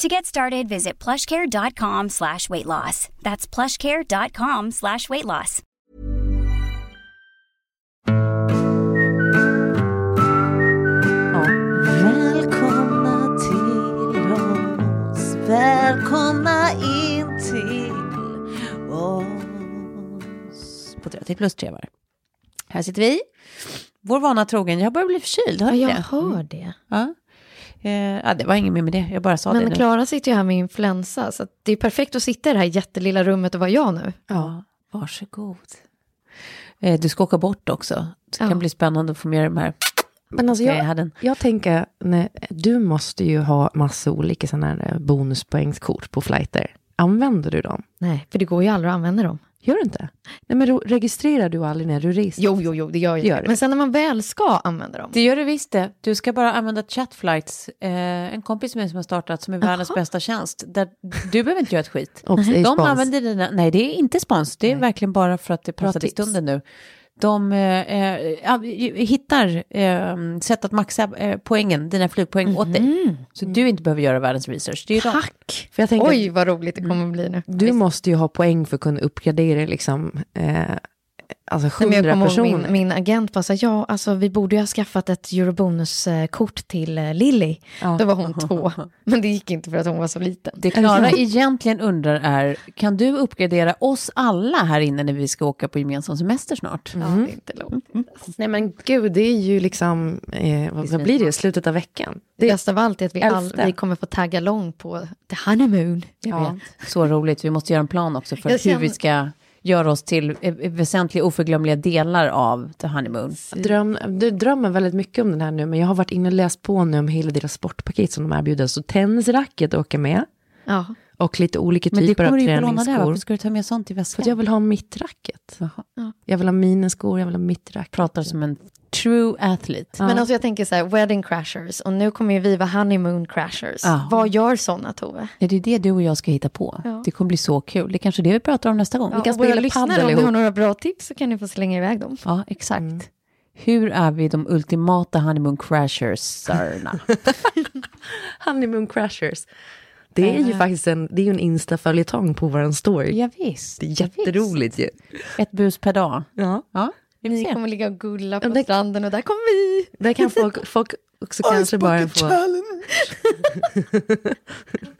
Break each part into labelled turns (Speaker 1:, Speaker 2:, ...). Speaker 1: To get started, visit plushcare.com slash weight loss. That's plushcare.com slash weight loss.
Speaker 2: Välkomna till oss. Välkomna in till oss. På 30 plus tre var. Här sitter vi. Vår vana trogen. Jag börjar bli förkyld. Hör
Speaker 3: Ja,
Speaker 2: du
Speaker 3: jag
Speaker 2: det?
Speaker 3: hör det.
Speaker 2: Ja. Eh, ja, det var inget mer med det. Jag bara sa det
Speaker 3: Men
Speaker 2: nu.
Speaker 3: Klara sitter ju här med influensa, så att det är perfekt att sitta i det här jättelilla rummet och vara jag nu.
Speaker 2: Ja, varsågod. Eh, du ska åka bort också. Det kan
Speaker 3: Ja.
Speaker 2: bli spännande att få med de här.
Speaker 4: Men alltså
Speaker 2: Jag
Speaker 4: jag,
Speaker 2: hade en-
Speaker 4: jag tänker, nej, du måste ju ha massa olika sådana här eh, bonuspoängskort på flighter. Använder du dem?
Speaker 3: Nej, för det går ju aldrig att använda dem.
Speaker 4: Gör du inte? Nej, men ro- registrerar du aldrig när du reser?
Speaker 3: Jo, jo, jo, det gör jag.
Speaker 4: Det gör du.
Speaker 3: Men sen när man väl ska använda dem.
Speaker 2: Det gör du visst det. Du ska bara använda chatflights. Eh, en kompis med som har startat som är världens bästa tjänst. Där du behöver inte göra ett skit.
Speaker 4: Obs, det är
Speaker 2: De
Speaker 4: spons.
Speaker 2: använder dina, nej det är inte spons, det är verkligen bara för att det passar i
Speaker 4: tips.
Speaker 2: stunden nu. De eh, eh, ja, hittar eh, sätt att maxa eh, poängen, dina flygpoäng åt
Speaker 4: Mhm.
Speaker 2: dig. Så du inte behöver göra världens research. Det är ju de.
Speaker 3: Tack! Mm.
Speaker 4: För jag tänker,
Speaker 3: Oj, vad roligt det kommer bli nu.
Speaker 4: du måste ju ha poäng för att kunna uppgradera liksom, eh, alltså
Speaker 3: Nej, men
Speaker 4: 100
Speaker 3: jag kommer ihåg
Speaker 4: personer.
Speaker 3: min, min agent bara så här, ja, alltså vi borde ju ha skaffat ett Eurobonus-kort till eh, Lilly. Då var hon två, men det gick inte för att hon var så liten.
Speaker 2: Det Klara egentligen undrar är, kan du uppgradera oss alla här inne när vi ska åka på gemensam semester snart?
Speaker 3: Ja, det är inte långt.
Speaker 4: Nej men gud, det är ju liksom, eh, vad, vad blir det, slutet av veckan?
Speaker 3: Det bästa av allt är att vi, all,
Speaker 4: Elfte.
Speaker 3: vi kommer få tagga lång på the honeymoon.
Speaker 2: Jag vet. Så roligt. Vi måste göra en plan också för
Speaker 3: Jag
Speaker 2: hur
Speaker 3: känner-
Speaker 2: vi ska göra oss till eh, väsentliga oförglömliga delar av The Honeymoon.
Speaker 4: Dröm, du drömmer väldigt mycket om den här nu, men jag har varit inne och läst på nu om hela deras sportpaket som de erbjuder. Så tennisracket åker med
Speaker 3: Ja.
Speaker 4: och lite olika
Speaker 2: Men du
Speaker 4: typer av
Speaker 2: kommer ju inte låna det,
Speaker 4: träningsskor.
Speaker 2: varför ska du ta med sånt i
Speaker 4: För
Speaker 2: väskan?
Speaker 4: att jag vill ha mitt racket. Jag vill ha mina skor, jag vill ha mitt racket.
Speaker 2: pratar som en true athlete.
Speaker 3: Men alltså jag tänker så här, wedding crashers och nu kommer ju vi vara honeymoon crashers.
Speaker 2: Ja.
Speaker 3: Vad gör sådana Tove?
Speaker 2: Nej, Det är det du och jag ska hitta på. Det kommer bli så kul. Det är kanske är det vi pratar om nästa gång. vi kan
Speaker 3: och våra
Speaker 2: spela
Speaker 3: lyssnare,
Speaker 2: padel
Speaker 3: Om ni har
Speaker 2: ihop.
Speaker 3: några bra tips så kan ni få slänga iväg dem.
Speaker 2: Ja, exakt. Hur är vi de ultimata honeymoon crashersarna?
Speaker 4: Honeymoon crashers. Det är ju faktiskt en, det är ju en Insta-följetong på vår story.
Speaker 2: ja, visst.
Speaker 4: Det är jätteroligt ju.
Speaker 2: Ett bus per dag.
Speaker 4: Ja.
Speaker 2: Ja, vi får
Speaker 3: Ni
Speaker 2: se.
Speaker 3: kommer ligga och gulla
Speaker 4: Ja,
Speaker 3: på
Speaker 4: det-
Speaker 3: stranden och där kommer vi.
Speaker 4: Där kan folk, folk också kanske bara få...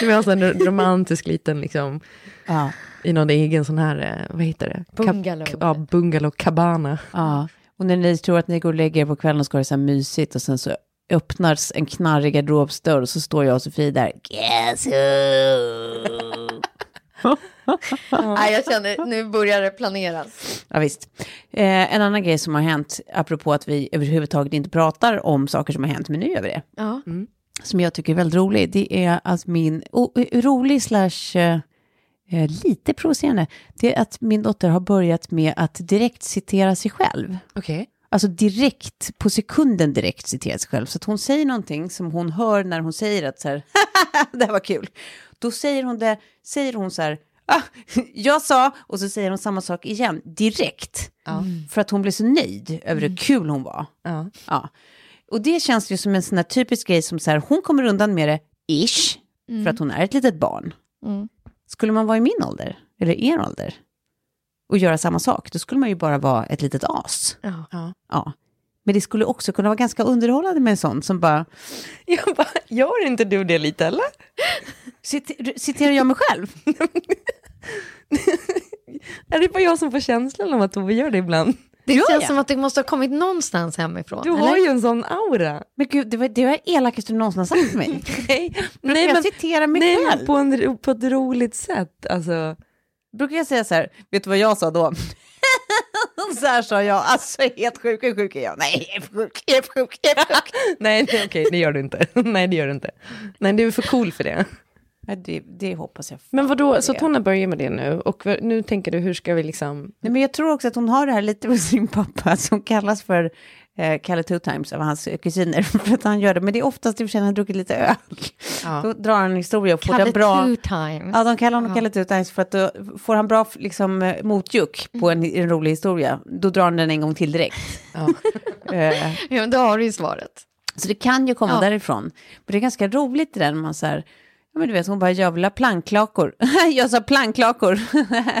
Speaker 4: Du har alltså en sån romantisk liten, liksom,
Speaker 2: Ja,
Speaker 4: i någon egen sån här, eh, vad heter det? Kap-
Speaker 3: Bungalow.
Speaker 4: Ja, bungalow, cabana.
Speaker 2: ja. Och när ni tror att ni går och lägger er på kvällen och ska ha det så här mysigt och sen så öppnas en knarrig garderobsdörr och så står jag och Sofie där. Guess who?
Speaker 3: Nej, jag känner, nu börjar det planeras.
Speaker 2: Ja, visst. Eh, en annan grej som har hänt, apropå att vi överhuvudtaget inte pratar om saker som har hänt, men nu gör vi det,
Speaker 3: Ja.
Speaker 2: som jag tycker är väldigt rolig, det är att min, o- o- rolig slash eh, eh, lite provocerande, det är att min dotter har börjat med att direkt citera sig själv.
Speaker 4: Okej.
Speaker 2: Alltså direkt, på sekunden direkt citerar sig själv. Så att hon säger någonting som hon hör när hon säger att så här, det här var kul. Då säger hon det, säger hon så här, ah, jag sa, och så säger hon samma sak igen direkt. För att hon blev så nöjd över hur kul hon var.
Speaker 4: Ja.
Speaker 2: Ja. Och det känns ju som en sån här typisk grej som så här, hon kommer undan med det, ish, för att hon är ett litet barn.
Speaker 3: Mm.
Speaker 2: Skulle man vara i min ålder, eller er ålder, och göra samma sak, då skulle man ju bara vara ett litet as.
Speaker 3: Ja.
Speaker 2: Ja. Men det skulle också kunna vara ganska underhållande med en sån som bara,
Speaker 4: Jag bara, gör inte du det lite eller?
Speaker 2: citer- citerar jag mig själv?
Speaker 4: Är det bara jag som får känslan av att Tove gör det ibland?
Speaker 3: Det
Speaker 2: Gör
Speaker 3: känns
Speaker 2: jag?
Speaker 3: som att det måste ha kommit någonstans hemifrån.
Speaker 4: Du har
Speaker 3: eller?
Speaker 4: ju en sån aura.
Speaker 2: Men gud, det var det var elakaste du någonsin har sagt till mig.
Speaker 4: Nej,
Speaker 2: Brukar
Speaker 4: nej
Speaker 2: jag
Speaker 4: men,
Speaker 2: citera mig
Speaker 4: nej,
Speaker 2: själv?
Speaker 4: men på, en, på ett roligt sätt. Alltså,
Speaker 2: Brukar jag säga så här, vet du vad jag sa då? så här sa jag, alltså helt sjuk, hur sjuk är jag? Nej, jag är för sjuk, jag är för sjuk, jag är för sjuk.
Speaker 4: nej, nej okej, det gör du inte. nej, det gör du inte. Nej, du är för cool för det.
Speaker 2: Ja, det, det hoppas jag.
Speaker 4: Men vadå, så
Speaker 2: att
Speaker 4: hon har börjat med det nu och nu tänker du hur ska vi liksom...
Speaker 2: Nej, men jag tror också att hon har det här lite med sin pappa som kallas för eh, Kalle Two Times av hans kusiner för att han gör det. Men det är oftast i och för sig när han har druckit lite öl. Då drar han en historia och får
Speaker 3: Kalle
Speaker 2: den bra...
Speaker 3: two times.
Speaker 2: Ja, de kallar honom Kalle Two Times för att då får han bra liksom, eh, motjuk på en,
Speaker 3: Mm.
Speaker 2: en rolig historia. Då drar han den en gång till direkt. Eh,
Speaker 3: Ja, men då har du ju svaret.
Speaker 2: Så det kan ju komma
Speaker 3: Ja.
Speaker 2: därifrån. Men det är ganska roligt det där när man så här, ja men du vet hon bara, jag vill ha planklakor. jag sa planklakor.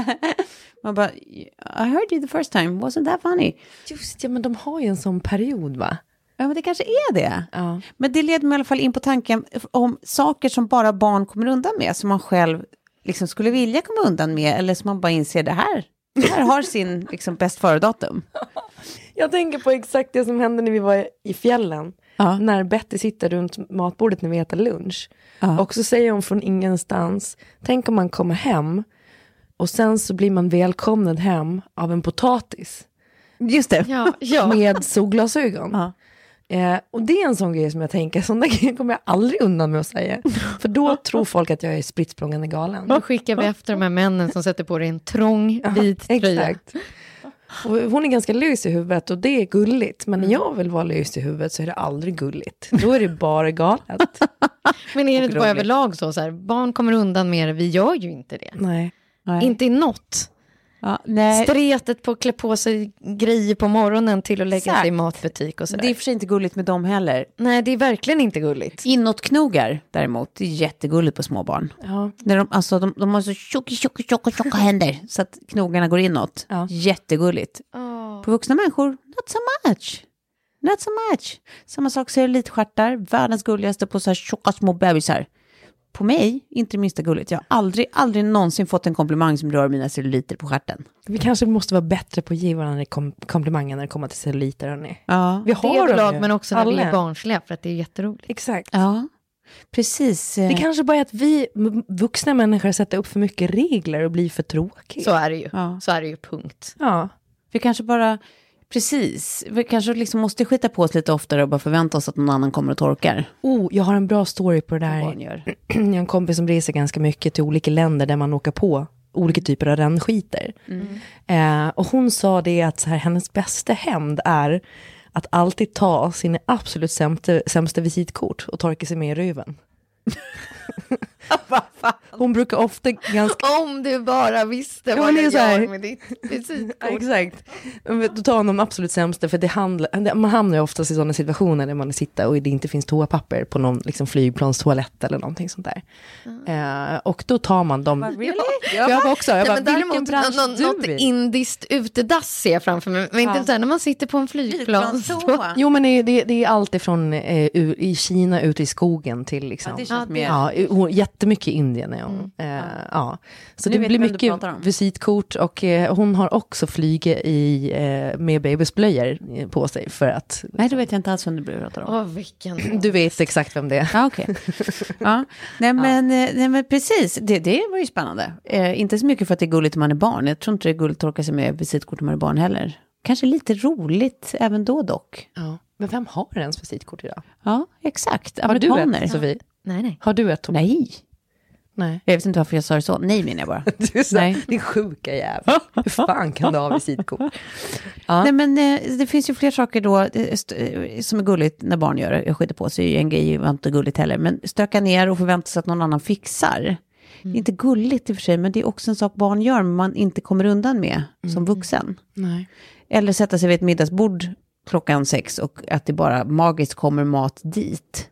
Speaker 2: man bara, I heard you the first time, wasn't that funny?
Speaker 4: Just ja, men de har ju en sån period va?
Speaker 2: Ja men det kanske är det.
Speaker 4: Ja.
Speaker 2: Men det leder mig i alla fall in på tanken om saker som bara barn kommer undan med, som man själv liksom skulle vilja komma undan med, eller som man bara inser det här. Det här har sin liksom, bäst före-datum.
Speaker 4: Jag tänker på exakt det som hände när vi var i fjällen.
Speaker 2: Ja.
Speaker 4: När Betty sitter runt matbordet när vi äter lunch.
Speaker 2: Ja.
Speaker 4: Och så säger hon från ingenstans, tänk om man kommer hem och sen så blir man välkomnad hem av en potatis
Speaker 2: Just det.
Speaker 3: Ja, ja.
Speaker 4: med solglasögon.
Speaker 2: Ja.
Speaker 4: Eh, och det är en sån grej som jag tänker, sån där grejer kommer jag aldrig undan med att säga. För då tror folk att jag är spritt språngande galen.
Speaker 3: Då skickar vi efter de här männen som sätter på dig en trång vit tröja.
Speaker 4: Exakt. Och hon är ganska lös i huvudet och det är gulligt. Men när
Speaker 3: Mm.
Speaker 4: jag vill vara lös i huvudet så är det aldrig gulligt. Då är det bara galet.
Speaker 3: Men är det inte bara
Speaker 2: Otroligt.
Speaker 3: överlag så, så här, barn kommer undan med det, vi gör ju inte det.
Speaker 4: Nej.
Speaker 2: Nej.
Speaker 3: Inte i något.
Speaker 2: Ja, nej.
Speaker 3: Stretet på att klä på sig grejer på morgonen till att lägga
Speaker 2: Exakt.
Speaker 3: sig i matbutik och sådär.
Speaker 2: Det är i och för sig inte gulligt med dem heller.
Speaker 3: Nej, det är verkligen inte gulligt.
Speaker 2: Inåtknogar däremot, det är jättegulligt på småbarn.
Speaker 4: Ja.
Speaker 2: När de, alltså, de, de har så tjocka, tjocka, tjocka, tjocka händer så att knogarna går inåt.
Speaker 4: Ja.
Speaker 2: Jättegulligt. På vuxna människor, not so much. Not so much. Samma sak cellulitstjärtar, världens gulligaste på så här tjocka små bebisar. På mig, inte det minsta gulligt. Jag har aldrig, aldrig någonsin fått en komplimang som rör mina celluliter på stjärten.
Speaker 4: Vi kanske måste vara bättre på att ge varandra kom- komplimanger när det kommer till celluliter. Hörni.
Speaker 2: Ja.
Speaker 4: Vi
Speaker 3: Det är
Speaker 4: har
Speaker 3: jag
Speaker 4: dem
Speaker 3: glad,
Speaker 4: ju.
Speaker 3: men också när vi
Speaker 4: Alla.
Speaker 3: är barnsliga, för att det är jätteroligt.
Speaker 4: Exakt.
Speaker 2: ja. Precis. eh.
Speaker 4: Det kanske bara är att vi m- vuxna människor sätter upp för mycket regler och blir för tråkiga.
Speaker 3: Så är det ju.
Speaker 2: Ja.
Speaker 3: Så är det ju, punkt.
Speaker 4: Ja.
Speaker 2: Vi kanske bara, precis, vi kanske liksom måste skita på oss lite oftare och bara förvänta oss att någon annan kommer och torkar.
Speaker 4: Oh, jag har en bra story på det där.
Speaker 2: Barn gör.
Speaker 4: Jag har en kompis som reser ganska mycket till olika länder där man åker på olika typer av rännskiter. Eh, och hon sa det att så här, hennes bästa hämnd är att alltid ta sina absolut sämsta, sämsta visitkort och torka sig med i röven. hon brukar ofta ganska...
Speaker 3: Om du bara visste
Speaker 4: vad jag gör
Speaker 3: med ditt visitkort.
Speaker 4: Exakt. Men Då tar hon de absolut sämsta, för det handlar, man hamnar ju oftast i sådana situationer där man sitter och det inte finns toapapper på någon liksom, flygplanstoalett eller någonting sånt där. Eh, och då tar man de...
Speaker 2: Ah. Ja.
Speaker 4: Jag var också, jag
Speaker 3: Nej,
Speaker 4: bara,
Speaker 3: men däremot
Speaker 4: vilken bransch
Speaker 3: nå- nå-
Speaker 4: du
Speaker 3: något
Speaker 4: vill?
Speaker 3: indiskt utedass ser jag framför mig. Men inte så här när man sitter på en flygplan.
Speaker 2: Flygplanstoa.
Speaker 4: Jo men det, är- det, är- det är allt ifrån eh, ur, i Kina ut i skogen till liksom.
Speaker 2: Ja, det känns Mm.
Speaker 4: Ja,
Speaker 2: mer-
Speaker 4: Ja, hon- jättemycket i Indien är hon. Eh, ja. Så
Speaker 2: Nu
Speaker 4: det
Speaker 2: vet
Speaker 4: blir
Speaker 2: vem du
Speaker 4: mycket
Speaker 2: pratar om.
Speaker 4: visitkort och eh, hon har också flyget i, eh, med babysblöjor eh, på sig för att
Speaker 2: Nej, då vet jag inte alls vem du pratar om.
Speaker 3: Åh, vilken...
Speaker 4: du vet exakt vem det är.
Speaker 2: Ja, okej. Ja. Nej, men, eh, nej, men precis. Det, det var ju spännande. Eh, inte så mycket för att det är gulligt när man är barn. Jag tror inte det är gulligt att torka sig med visitkort när man är barn heller. Kanske lite roligt även då dock.
Speaker 4: Ja. Men vem har ens visitkort idag?
Speaker 2: Ja, exakt.
Speaker 4: Har du
Speaker 2: Amerikaner.
Speaker 4: ett Sofie?
Speaker 3: Nej, nej.
Speaker 4: Har du ett Tom?
Speaker 2: Nej,
Speaker 4: Nej.
Speaker 2: jag vet inte varför jag sa det så. Nej, menar jag bara.
Speaker 4: Du är så,
Speaker 2: Nej.
Speaker 4: Din sjuka jävel. Hur fan kan du ha visitkort?
Speaker 2: Nej, men eh, det finns ju fler saker då eh, st- eh, som är gulligt när barn gör det. Jag skiter på sig, en grej var inte gulligt heller. Men stöka ner och förvänta sig att någon annan fixar. Det är inte gulligt i och för sig, men det är också en sak barn gör, men man inte kommer undan med som vuxen.
Speaker 4: Nej.
Speaker 2: Eller sätta sig vid ett middagsbord klockan sex och att det bara magiskt kommer mat dit.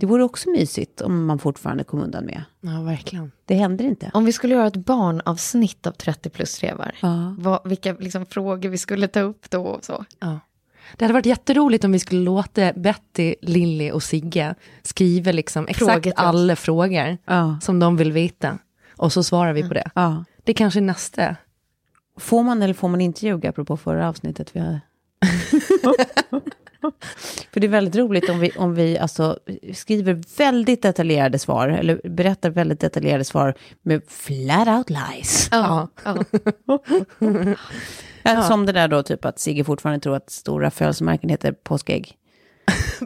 Speaker 2: Det vore också mysigt om man fortfarande kom undan med.
Speaker 4: Ja, verkligen.
Speaker 2: Det händer inte.
Speaker 3: Om vi skulle göra ett barnavsnitt av 30 plus revar, vad, vilka liksom, frågor vi skulle ta upp då och så.
Speaker 4: Ja. Det hade varit jätteroligt om vi skulle låta Betty, Lilly och Sigge skriva liksom exakt
Speaker 3: Frågor till oss.
Speaker 4: alla frågor
Speaker 2: Ja.
Speaker 4: som de vill veta. Och så svarar vi på det.
Speaker 2: Ja.
Speaker 4: Det kanske är nästa.
Speaker 2: Får man eller får man inte ljuga, apropå förra avsnittet vi hade? För det är väldigt roligt om vi, om vi alltså skriver väldigt detaljerade svar, eller berättar väldigt detaljerade svar med flat out lies.
Speaker 3: Ja. ja.
Speaker 2: Ja. Som det där då, typ att Sigge fortfarande tror att stora födelsemärken heter påskägg.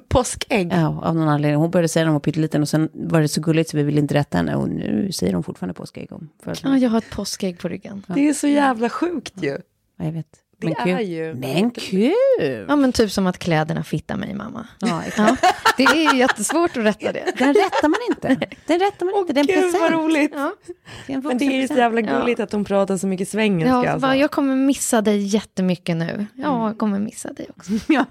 Speaker 4: Påskägg.
Speaker 2: Ja, av någon anledning. Hon började säga det när hon var pytteliten och sen var det så gulligt så vi ville inte rätta henne. Och nu säger hon fortfarande påskägg om
Speaker 3: Ja,
Speaker 2: födelsemärken.
Speaker 3: jag har ett påskägg på ryggen.
Speaker 4: Det är så jävla sjukt ju.
Speaker 2: Ja, jag vet.
Speaker 4: Det
Speaker 2: Men
Speaker 4: är
Speaker 2: kul.
Speaker 4: ju...
Speaker 2: Men kul!
Speaker 3: Ja, men typ som att kläderna fittar mig, mamma.
Speaker 2: Ja, exakt.
Speaker 3: Ja, det är ju jättesvårt att rätta det.
Speaker 2: Den rättar man inte. Den rättar man inte. Det är en
Speaker 4: Gud vad
Speaker 2: present.
Speaker 4: roligt.
Speaker 3: Ja.
Speaker 2: Det är en
Speaker 4: Men det är ju så
Speaker 2: vuxenpresent.
Speaker 4: jävla gulligt att de pratar så mycket svengelska.
Speaker 3: Ja,
Speaker 4: alltså.
Speaker 3: bara, jag kommer missa dig jättemycket nu. Ja, jag kommer missa dig också.
Speaker 4: Ä-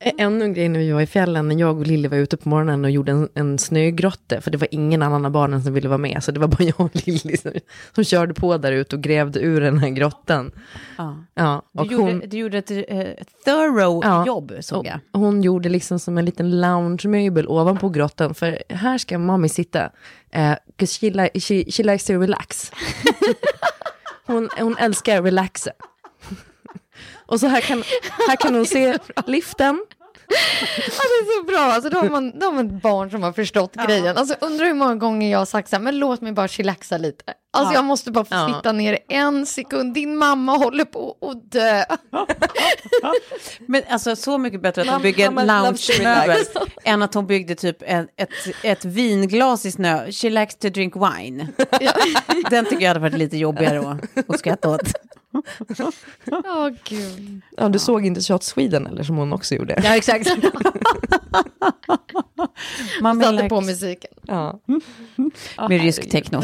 Speaker 4: Eh, Ännu en grej när vi var i fjällen, när jag och Lilly var ute på morgonen och gjorde en, en snögrotte, för det var ingen annan av barnen som ville vara med, så det var bara jag och Lilly som, som körde på där ute och grävde ur den här grottan.
Speaker 2: Ja.
Speaker 4: Ja,
Speaker 2: Du
Speaker 4: och hon,
Speaker 2: gjorde, du gjorde ett eh, thorough
Speaker 4: Ja.
Speaker 2: jobb, såg
Speaker 4: och
Speaker 2: jag.
Speaker 4: hon gjorde liksom som en liten loungemöbel ovanpå grottan, för här ska mommy sitta, eh, 'cause she, li- she, she likes to relax. hon, hon älskar relaxa. och så här kan, här kan hon se liften,
Speaker 3: Ja, det är så bra. Alltså, då, har man, då har man ett barn som har förstått grejen. Alltså, undrar hur många gånger jag har sagt så här, men låt mig bara chillaxa lite. Alltså, jag måste bara få
Speaker 4: Ja.
Speaker 3: sitta ner en sekund. Din mamma håller på att dö.
Speaker 2: Men alltså så mycket bättre att hon
Speaker 4: Mamma
Speaker 2: bygger en
Speaker 4: loves to
Speaker 2: loungemöbel
Speaker 4: relax.
Speaker 2: än att hon byggde typ en, ett, ett vinglas i snö. She likes to drink wine. Den tycker jag hade varit lite jobbigare att- att skratta åt.
Speaker 3: Ja, gud.
Speaker 4: Ja, du såg inte Shot Sweden eller som hon också gjorde?
Speaker 2: Ja, exakt. Man
Speaker 3: Satte på musiken.
Speaker 4: Ja.
Speaker 2: med rysk techno.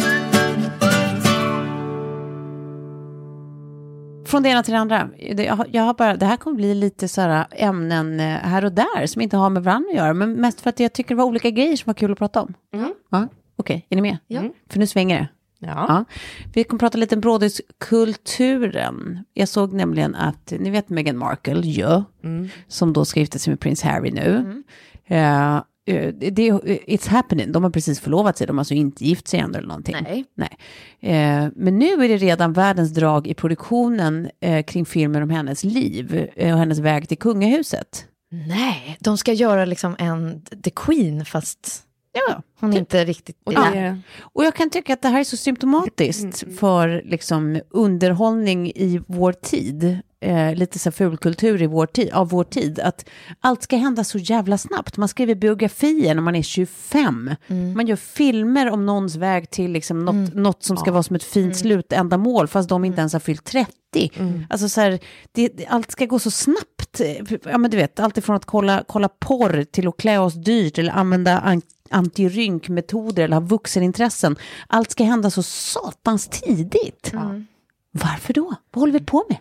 Speaker 2: Från det ena till det andra. Det- Jag har, jag har bara, det här kommer bli lite så här ämnen eh, här och där som inte har med varandra att göra. Men mest för att jag tycker det var olika grejer som var kul att prata om. Ja, Okej, är ni med?
Speaker 3: Ja.
Speaker 2: För nu svänger det.
Speaker 4: Ja.
Speaker 2: Ja. Vi kommer prata lite om brådiskulturen. Jag såg nämligen att, ni vet Meghan Markle ju, som då ska gifta sig med prins Harry nu.
Speaker 3: Mm.
Speaker 2: Eh, eh, det, it's happening, de har precis förlovat sig, de har alltså inte gift sig ändå eller någonting.
Speaker 3: Nej.
Speaker 2: Eh, men nu är det redan världens drag i produktionen eh, kring filmen om hennes liv eh, och hennes väg till kungahuset.
Speaker 3: Nej, de ska göra liksom en The Queen, fast
Speaker 2: Ja.
Speaker 3: hon är inte riktigt...
Speaker 4: Och
Speaker 3: Ja.
Speaker 4: det, ja.
Speaker 2: Och jag kan tycka att det här är så symptomatiskt för liksom, underhållning i vår tid. Eh, lite så här fulkultur i vår tid, av vår tid. Att allt ska hända så jävla snabbt. Man skriver biografier när man är 25. Man gör filmer om någons väg till liksom, något, något som ska vara som ett fint slutändamål fast de inte ens har fyllt 30. Alltså så här, det, det- allt ska gå så snabbt. Ja men du vet, allt ifrån att kolla, kolla porr till att klä oss dyrt eller använda an- antirynkmetoder eller ha vuxenintressen. Allt ska hända så satans tidigt. Varför då? Vad håller vi på med?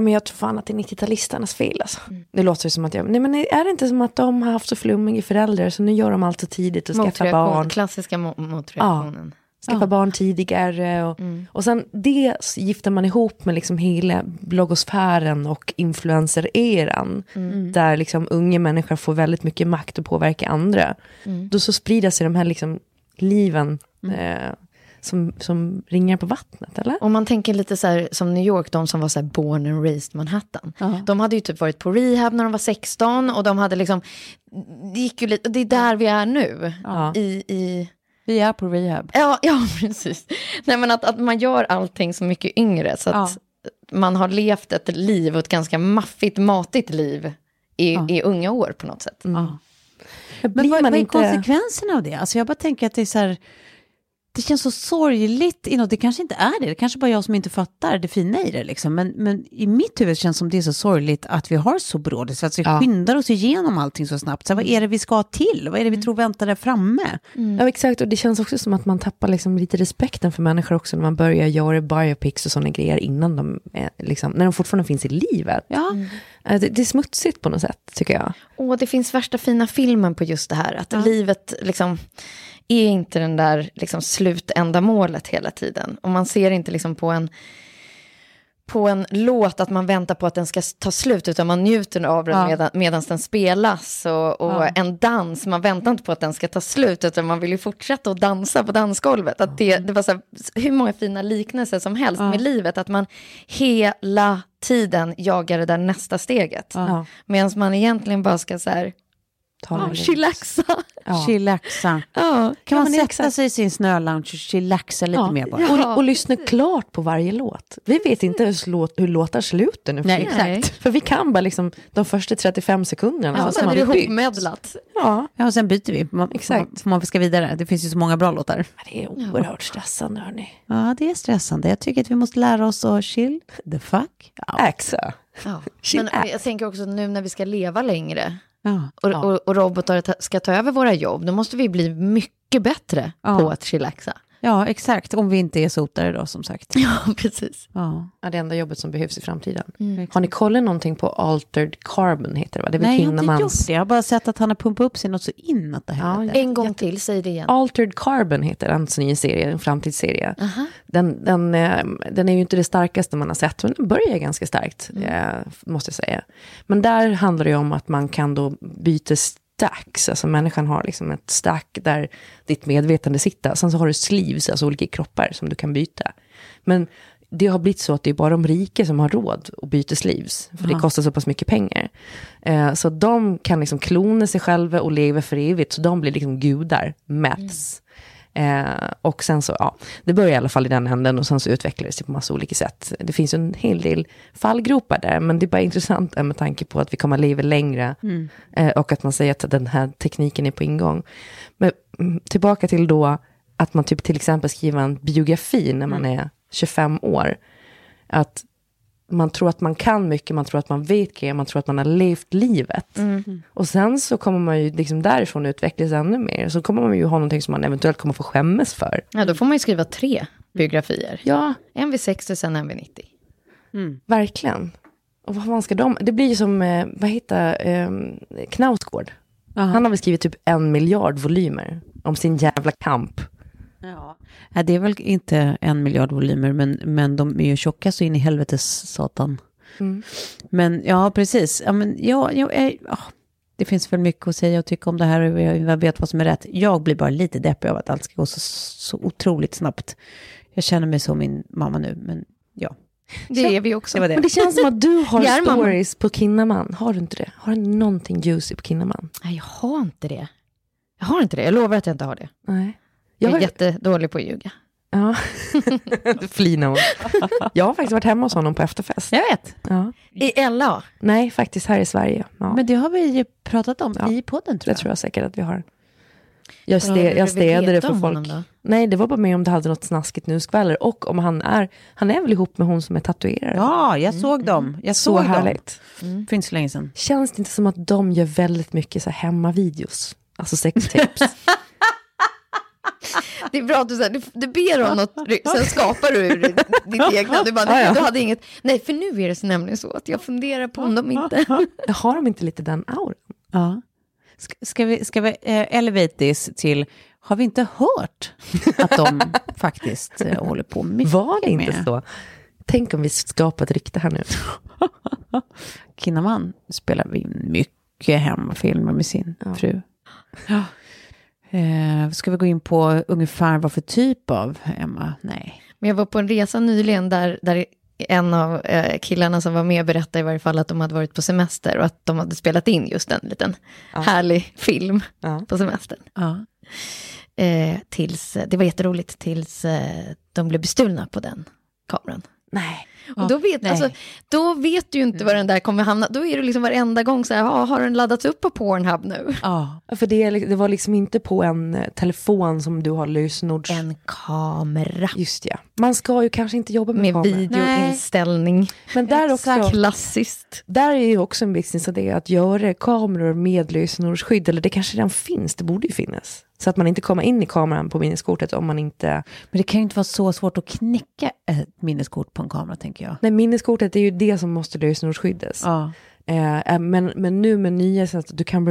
Speaker 4: men jag tror fan att det är 90-talisternas fel alltså. Det låter ju som att jag, nej men är det inte som att de har haft så flummiga föräldrar så nu gör de allt så tidigt och skaffar
Speaker 3: Motreaktion,
Speaker 4: barn.
Speaker 3: Klassiska mo- motreaktionen.
Speaker 4: Skaffa barn tidigare och, och sen det s- gifter man ihop med liksom hela bloggosfären och influencer-eran. Där liksom unga människor får väldigt mycket makt att påverka andra. Då så sprider sig de här liksom liven
Speaker 2: Mm.
Speaker 4: eh, som, som ringar på vattnet eller?
Speaker 3: Om man tänker lite så här som New York, de som var så här born and raised Manhattan. De hade ju typ varit på rehab när de var 16 och de hade liksom, det gick ju lite, det är där vi är nu. I, i,
Speaker 2: Vi är på rehab.
Speaker 3: ja, ja, precis. Nej men att, att man gör allting så mycket yngre så att man har levt ett liv och ett ganska maffigt, matigt liv i, i unga år på något sätt.
Speaker 2: Men
Speaker 4: Blir
Speaker 2: vad,
Speaker 4: man
Speaker 2: vad är
Speaker 4: inte-
Speaker 2: konsekvenserna av det? Alltså jag bara tänker att det är så här, det känns så sorgligt inåt. Det kanske inte är det. Det kanske bara jag som inte fattar det fina i det. Liksom. Men, men i mitt huvud känns det som det är så sorgligt att vi har så brådis. Att vi skyndar oss igenom allting så snabbt. Så här, vad är det vi ska till? Vad är det vi tror väntar där framme?
Speaker 4: Ja, exakt. Och det känns också som att man tappar liksom lite respekten för människor också när man börjar göra biopics och sådana grejer innan de, är, liksom, när de fortfarande finns i livet.
Speaker 2: Ja.
Speaker 4: Eh, Det, det är smutsigt på något sätt, tycker jag.
Speaker 3: Åh, det finns värsta fina filmen på just det här. Att livet liksom är inte den där liksom slutändamålet hela tiden. Och man ser inte liksom på en på en låt att man väntar på att den ska ta slut utan man njuter av den medan medans den spelas. Och, och en dans, man väntar inte på att den ska ta slut utan man vill ju fortsätta att dansa på dansgolvet. Att det, det var så här, hur många fina liknelser som helst med livet, att man hela tiden jagar det där nästa steget.
Speaker 4: Ja.
Speaker 3: Medan man egentligen bara ska så här,
Speaker 4: Ta det
Speaker 3: ja,
Speaker 4: lugnt.
Speaker 3: chillaxa.
Speaker 4: Ja.
Speaker 2: Chillaxa.
Speaker 3: Ja,
Speaker 2: Kan man
Speaker 3: men
Speaker 2: sätta
Speaker 3: exakt.
Speaker 2: sig i sin snölounge och chillaxa lite
Speaker 4: Ja.
Speaker 2: mer bara?
Speaker 4: Och, och lyssna klart på varje låt. Vi vet inte hur, låt, hur låtar slutar nu för
Speaker 2: Nej,
Speaker 4: tiden.
Speaker 3: Nej.
Speaker 4: För vi kan bara liksom de första 35 sekunderna.
Speaker 3: Ja,
Speaker 4: som
Speaker 3: sen
Speaker 4: har
Speaker 3: är det
Speaker 4: byggt.
Speaker 3: ihopmedlat.
Speaker 4: Ja.
Speaker 2: Ja, och sen byter vi. Man,
Speaker 4: Exakt.
Speaker 2: Man, man ska vidare. Det finns ju så många bra låtar.
Speaker 4: Det är oerhört stressande hörni.
Speaker 2: Ja, det är stressande. Jag tycker att vi måste lära oss att chill the fuck out.
Speaker 4: Äxa.
Speaker 3: Ja.
Speaker 4: She
Speaker 3: Men eh,
Speaker 4: acts.
Speaker 3: jag tänker också nu när vi ska leva längre
Speaker 2: Ja.
Speaker 3: och, och, och robotar ta- ska ta över våra jobb, då måste vi bli mycket bättre på att chillaxa.
Speaker 2: ja, exakt. Om vi inte är sotare då, som sagt.
Speaker 3: Ja, precis.
Speaker 2: Ja.
Speaker 4: Ja, det enda jobbet som behövs i framtiden.
Speaker 2: Mm.
Speaker 4: Har ni kollat någonting på Altered Carbon heter det va? Det är väl
Speaker 2: Nej, jag har inte
Speaker 4: Kinnamans...
Speaker 2: gjort det. Jag har bara sett att han har pumpat upp sig något så inåt det här. Ja,
Speaker 3: En gång till, säg det igen.
Speaker 4: Eh, Altered Carbon heter hans nya serie, en framtidsserie. Den, den, eh, den är ju inte det starkaste man har sett, men den börjar ganska starkt, eh, måste jag säga. Men där handlar det ju om att man kan då byta stacks, alltså människan har liksom ett stack där ditt medvetande sitter. Sen så har du sleeves, alltså olika kroppar som du kan byta. Men det har blivit så att det är bara de rika som har råd att byta sleeves, för det kostar så pass mycket pengar. Eh, så de kan liksom klona sig själva och leva för evigt, så de blir liksom gudar, maths. Eh, och sen så, ja, det börjar i alla fall i den änden och sen så utvecklades det på massa olika sätt. Det finns ju en hel del fallgropar där, men det är bara intressant eh, med tanke på att vi kommer att leva längre eh, och att man säger att den här tekniken är på ingång. Men mm, tillbaka till då att man typ till exempel skriver en biografi när man är 25 år. Att man tror att man kan mycket, man tror att man vet grejer, man tror att man har levt livet. Och sen så kommer man ju liksom därifrån utvecklas ännu mer. Så kommer man ju ha någonting som man eventuellt kommer få skämmas för.
Speaker 3: Ja, då får man ju skriva tre biografier.
Speaker 4: Ja,
Speaker 3: En vid 60, sen en vid 90.
Speaker 4: verkligen. Och vad fan ska de... Det blir ju som, eh, vad heter eh, Knausgård. Han har väl skrivit typ en miljard volymer om sin jävla kamp.
Speaker 2: Nej, det är väl inte en miljard volymer, men, men de är ju tjocka så in i helvetes satan.
Speaker 4: Mm.
Speaker 2: Men ja, precis. Ja, men, ja, ja, eh, ja. Det finns väl mycket att säga och tycka om det här och jag jag vet vad som är rätt. Jag blir bara lite deppig av att allt ska gå så, så otroligt snabbt. Jag känner mig som min mamma nu, men ja.
Speaker 3: Det är vi också.
Speaker 2: Det var det.
Speaker 4: Men det känns som att du har
Speaker 3: Ja, mamma.
Speaker 4: stories på Kinnaman. Har du inte det? Har du någonting juicy på Kinnaman?
Speaker 3: Nej, jag har inte det. Jag har inte det. Jag lovar att jag inte har det.
Speaker 4: Nej.
Speaker 3: Jag,
Speaker 4: Jag har,
Speaker 3: är jättedålig på att ljuga.
Speaker 4: ja. Flina hon. Jag har faktiskt varit hemma hos honom på efterfest.
Speaker 2: Jag vet.
Speaker 4: Ja.
Speaker 3: I LA?
Speaker 4: Nej, faktiskt här i Sverige. Ja.
Speaker 2: Men det har vi ju pratat om
Speaker 4: Ja,
Speaker 2: i podden tror
Speaker 4: det
Speaker 2: jag.
Speaker 4: tror jag säkert att vi har. Jag,
Speaker 3: Vad
Speaker 4: ste,
Speaker 3: ville
Speaker 4: jag
Speaker 3: vi
Speaker 4: städade det
Speaker 3: veta
Speaker 4: för
Speaker 3: om honom
Speaker 4: folk.
Speaker 3: då?
Speaker 4: Nej, det var bara med om du hade något snaskigt nuskväller. Och om han är, han är väl ihop med hon som är tatuerare.
Speaker 2: Ja, jag såg dem. Jag
Speaker 4: Mm. så
Speaker 2: såg dem.
Speaker 4: härligt.
Speaker 2: För inte så länge sedan.
Speaker 4: Känns det inte som att de gör väldigt mycket så här hemmavideos? Alltså sextips.
Speaker 3: Det är bra att du, så här, du, du ber om något, sen skapar du ur ditt ditt egna. Du bara, nej, du hade inget. Nej, för nu är det så nämligen så att jag funderar på om de inte...
Speaker 4: har de inte lite den auran?
Speaker 2: Ja. Ska, ska vi, ska vi eh, elevate this till, har vi inte hört att de faktiskt eh, håller på mycket
Speaker 4: Var det inte
Speaker 2: med
Speaker 4: så? Tänk om vi skapar ett rykte här nu.
Speaker 2: Kinnaman spelar vi in mycket hemmafilmer med sin fru. Ja. Eh, ska vi gå in på ungefär vad för typ av Emma? Nej.
Speaker 3: Men jag var på en resa nyligen där, där en av eh, killarna som var med berättade i varje fall att de hade varit på semester och att de hade spelat in just en liten härlig film
Speaker 4: Ja.
Speaker 3: på semestern.
Speaker 2: Ja.
Speaker 3: Eh, tills, det var jätteroligt tills eh, de blev bestulna på den kameran.
Speaker 4: Nej.
Speaker 3: Och då vet,
Speaker 2: nej.
Speaker 3: alltså, då vet du ju inte var den där kommer hamna. Då är det liksom varenda gång så här, "Ja, har den laddats upp på Pornhub nu?
Speaker 2: Ja.
Speaker 4: För det, är li- det var liksom inte på en eh, telefon som du har lösenords...
Speaker 3: En kamera.
Speaker 4: Just ja. Man ska ju kanske inte jobba med,
Speaker 3: Med
Speaker 4: kameror.
Speaker 3: videoinställning.
Speaker 4: Men där också...
Speaker 3: Klassiskt.
Speaker 4: Där är ju också en business att det är att göra kameror med lösenordsskydd, eller det kanske redan finns, det borde ju finnas. Så att man inte kommer in i kameran på minneskortet om man inte...
Speaker 2: Men det kan ju inte vara så svårt att knäcka ett minneskort på en kamera, tänker jag.
Speaker 4: Nej, minneskortet är ju det som måste lösenordsskyddas.
Speaker 2: Ja.
Speaker 4: Eh, eh, men, men nu med nya, så att du kan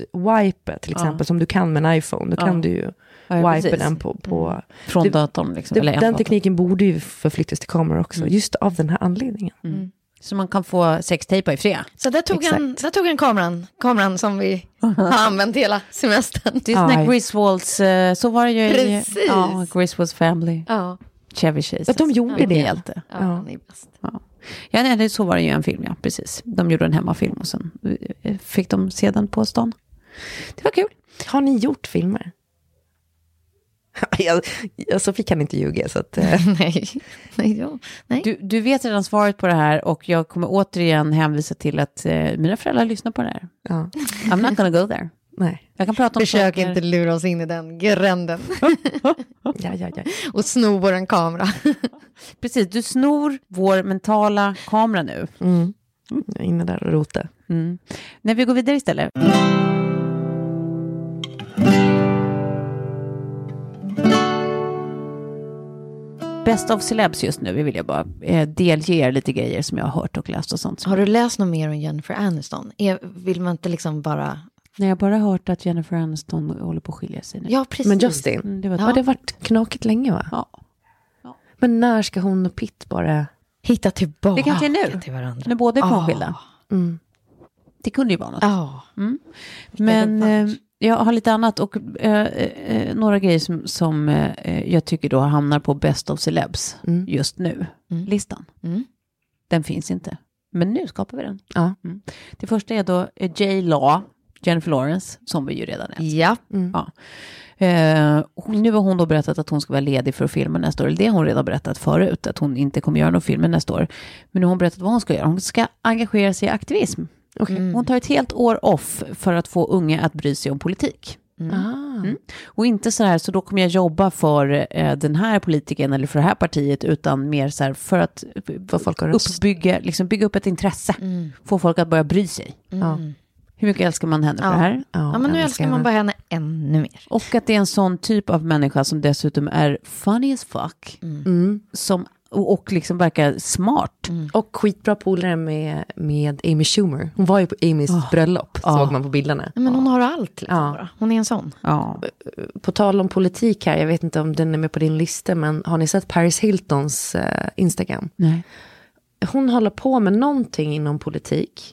Speaker 4: remote-wipa till exempel, som du kan med en iPhone, då kan du ju
Speaker 2: Ja, ja,
Speaker 4: wipa
Speaker 2: precis.
Speaker 4: den på... på
Speaker 2: Från
Speaker 4: Det-
Speaker 2: datorn liksom.
Speaker 4: det,
Speaker 2: eller en Mm.
Speaker 4: den
Speaker 2: dator.
Speaker 4: tekniken borde ju förflyttas till kameror också, just av den här anledningen.
Speaker 2: Mm. Så man kan få sextejpa i fred.
Speaker 3: Så där tog, han, där tog han kameran, kameran som vi har använt hela semestern.
Speaker 2: Det är sån här
Speaker 4: Aj.
Speaker 2: Griswolds, eh, så var det ju
Speaker 3: Precis.
Speaker 2: i ja, Griswolds Family,
Speaker 3: Ja,
Speaker 2: Chevy Chase.
Speaker 4: Att de gjorde
Speaker 2: Ingen
Speaker 4: det.
Speaker 2: Hjälte.
Speaker 3: ja, han är bäst.
Speaker 2: Ja. Ja, nej, det- så var det ju en film, ja. Precis. De gjorde en hemmafilm och sen eh, fick de se den på stan. Det var kul.
Speaker 4: Har ni gjort filmer? jag, jag, så fick han inte ljuga, så att... Eh.
Speaker 3: Nej, nej, ja. nej.
Speaker 2: Du, du vet redan svaret på det här och jag kommer återigen hänvisa till att eh, mina föräldrar lyssnar på det här.
Speaker 4: Ja,
Speaker 2: I'm not gonna go there.
Speaker 4: nej.
Speaker 2: Jag kan prata om
Speaker 3: Försök
Speaker 2: saker.
Speaker 3: inte lura oss in i den gränden
Speaker 4: Ja, ja, ja.
Speaker 3: och sno vår kamera.
Speaker 2: Precis, du snor vår mentala kamera nu.
Speaker 4: Mm. Jag är inne där och rota.
Speaker 2: Mm. När vi går vidare istället. Best of celebs just nu vill jag bara eh, delge er lite grejer som jag har hört och läst och sånt.
Speaker 3: Har du läst något mer om Jennifer Aniston? Är, vill man inte liksom bara...
Speaker 2: Nej, jag har bara hört att Jennifer Aniston håller på att skilja sig nu.
Speaker 3: Ja, precis.
Speaker 4: Men Justin,
Speaker 2: Mm, det var
Speaker 4: har det varit knakigt länge va?
Speaker 2: Ja.
Speaker 4: Men när ska hon och Pitt bara...
Speaker 3: Hitta tillbaka
Speaker 2: Det kanske är nu.
Speaker 3: till varandra.
Speaker 2: När båda är
Speaker 3: Ah.
Speaker 2: frånskilda.
Speaker 4: Mm.
Speaker 2: Det kunde ju vara något.
Speaker 3: Ja.
Speaker 2: Men
Speaker 3: revansch.
Speaker 2: eh, jag har lite annat och eh, eh, några grejer som, som eh, jag tycker då hamnar på Best of Celebs
Speaker 4: Mm.
Speaker 2: just nu,
Speaker 3: Mm.
Speaker 2: listan.
Speaker 3: Mm.
Speaker 2: Den finns inte, men nu skapar vi den.
Speaker 4: Ja.
Speaker 2: Mm. Det första är då eh, J. Law, Jennifer Lawrence, som vi ju redan är.
Speaker 3: Ja.
Speaker 2: Ja. Eh, hon- nu har hon då berättat att hon ska vara ledig för att filma nästa år. Eller det har hon redan berättat förut, att hon inte kommer göra någon film nästa år. Men nu har hon berättat vad hon ska göra. Hon ska engagera sig i aktivism. Mm. Hon tar ett helt år off för att få unga att bry sig om politik.
Speaker 4: Ah.
Speaker 2: Mm. Och inte så här, så då kommer jag jobba för eh, den här politiken eller för det här partiet, utan mer så här för att eh,
Speaker 4: Vad folk har röstat.
Speaker 2: uppbygga, liksom bygga upp ett intresse.
Speaker 4: Mm.
Speaker 2: Få folk att börja bry sig. Hur mycket älskar man henne för det här?
Speaker 4: Ja,
Speaker 3: ja, men nu
Speaker 4: jag
Speaker 3: älskar man bara henne ännu mer.
Speaker 2: Och att det är en sån typ av människa som dessutom är funny as fuck.
Speaker 4: Mm.
Speaker 2: Som, och, och liksom verkar smart.
Speaker 4: Och skitbra polare med, med Amy Schumer. Hon var ju på Amys bröllop, såg man på bilderna.
Speaker 3: Nej, Ah. men hon har allt liksom
Speaker 4: Ja.
Speaker 3: bara. Hon är en sån.
Speaker 2: Ja.
Speaker 4: På tal om politik här, jag vet inte om den är med på din lista, men har ni sett Paris Hiltons eh, Instagram?
Speaker 2: Nej.
Speaker 4: hon håller på med någonting inom politik.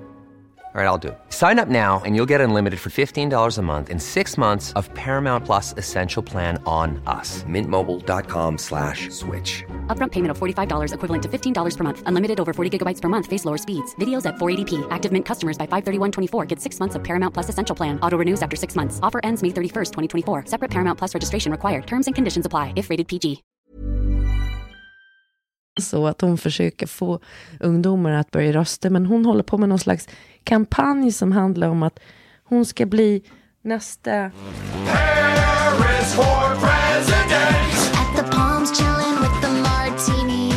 Speaker 5: All right, I'll do. it. Sign up now and you'll get unlimited for $15 a month in six months of Paramount Plus Essential Plan on us. Mintmobile.com slash switch.
Speaker 6: Upfront payment of $45 equivalent to $15 per month. Unlimited over 40 gigabytes per month. Face lower speeds. Videos at 480p. Active Mint customers by 531.24 get six months of Paramount Plus Essential Plan. Auto renews after six months. Offer ends May 31st, 2024. Separate Paramount Plus registration required. Terms and conditions apply if rated PG.
Speaker 4: så att hon försöker få ungdomar att börja rösta. Men hon håller på med någon slags kampanj som handlar om att hon ska bli nästa...
Speaker 7: Harris for president.
Speaker 8: At the Palms chillin' with the martini.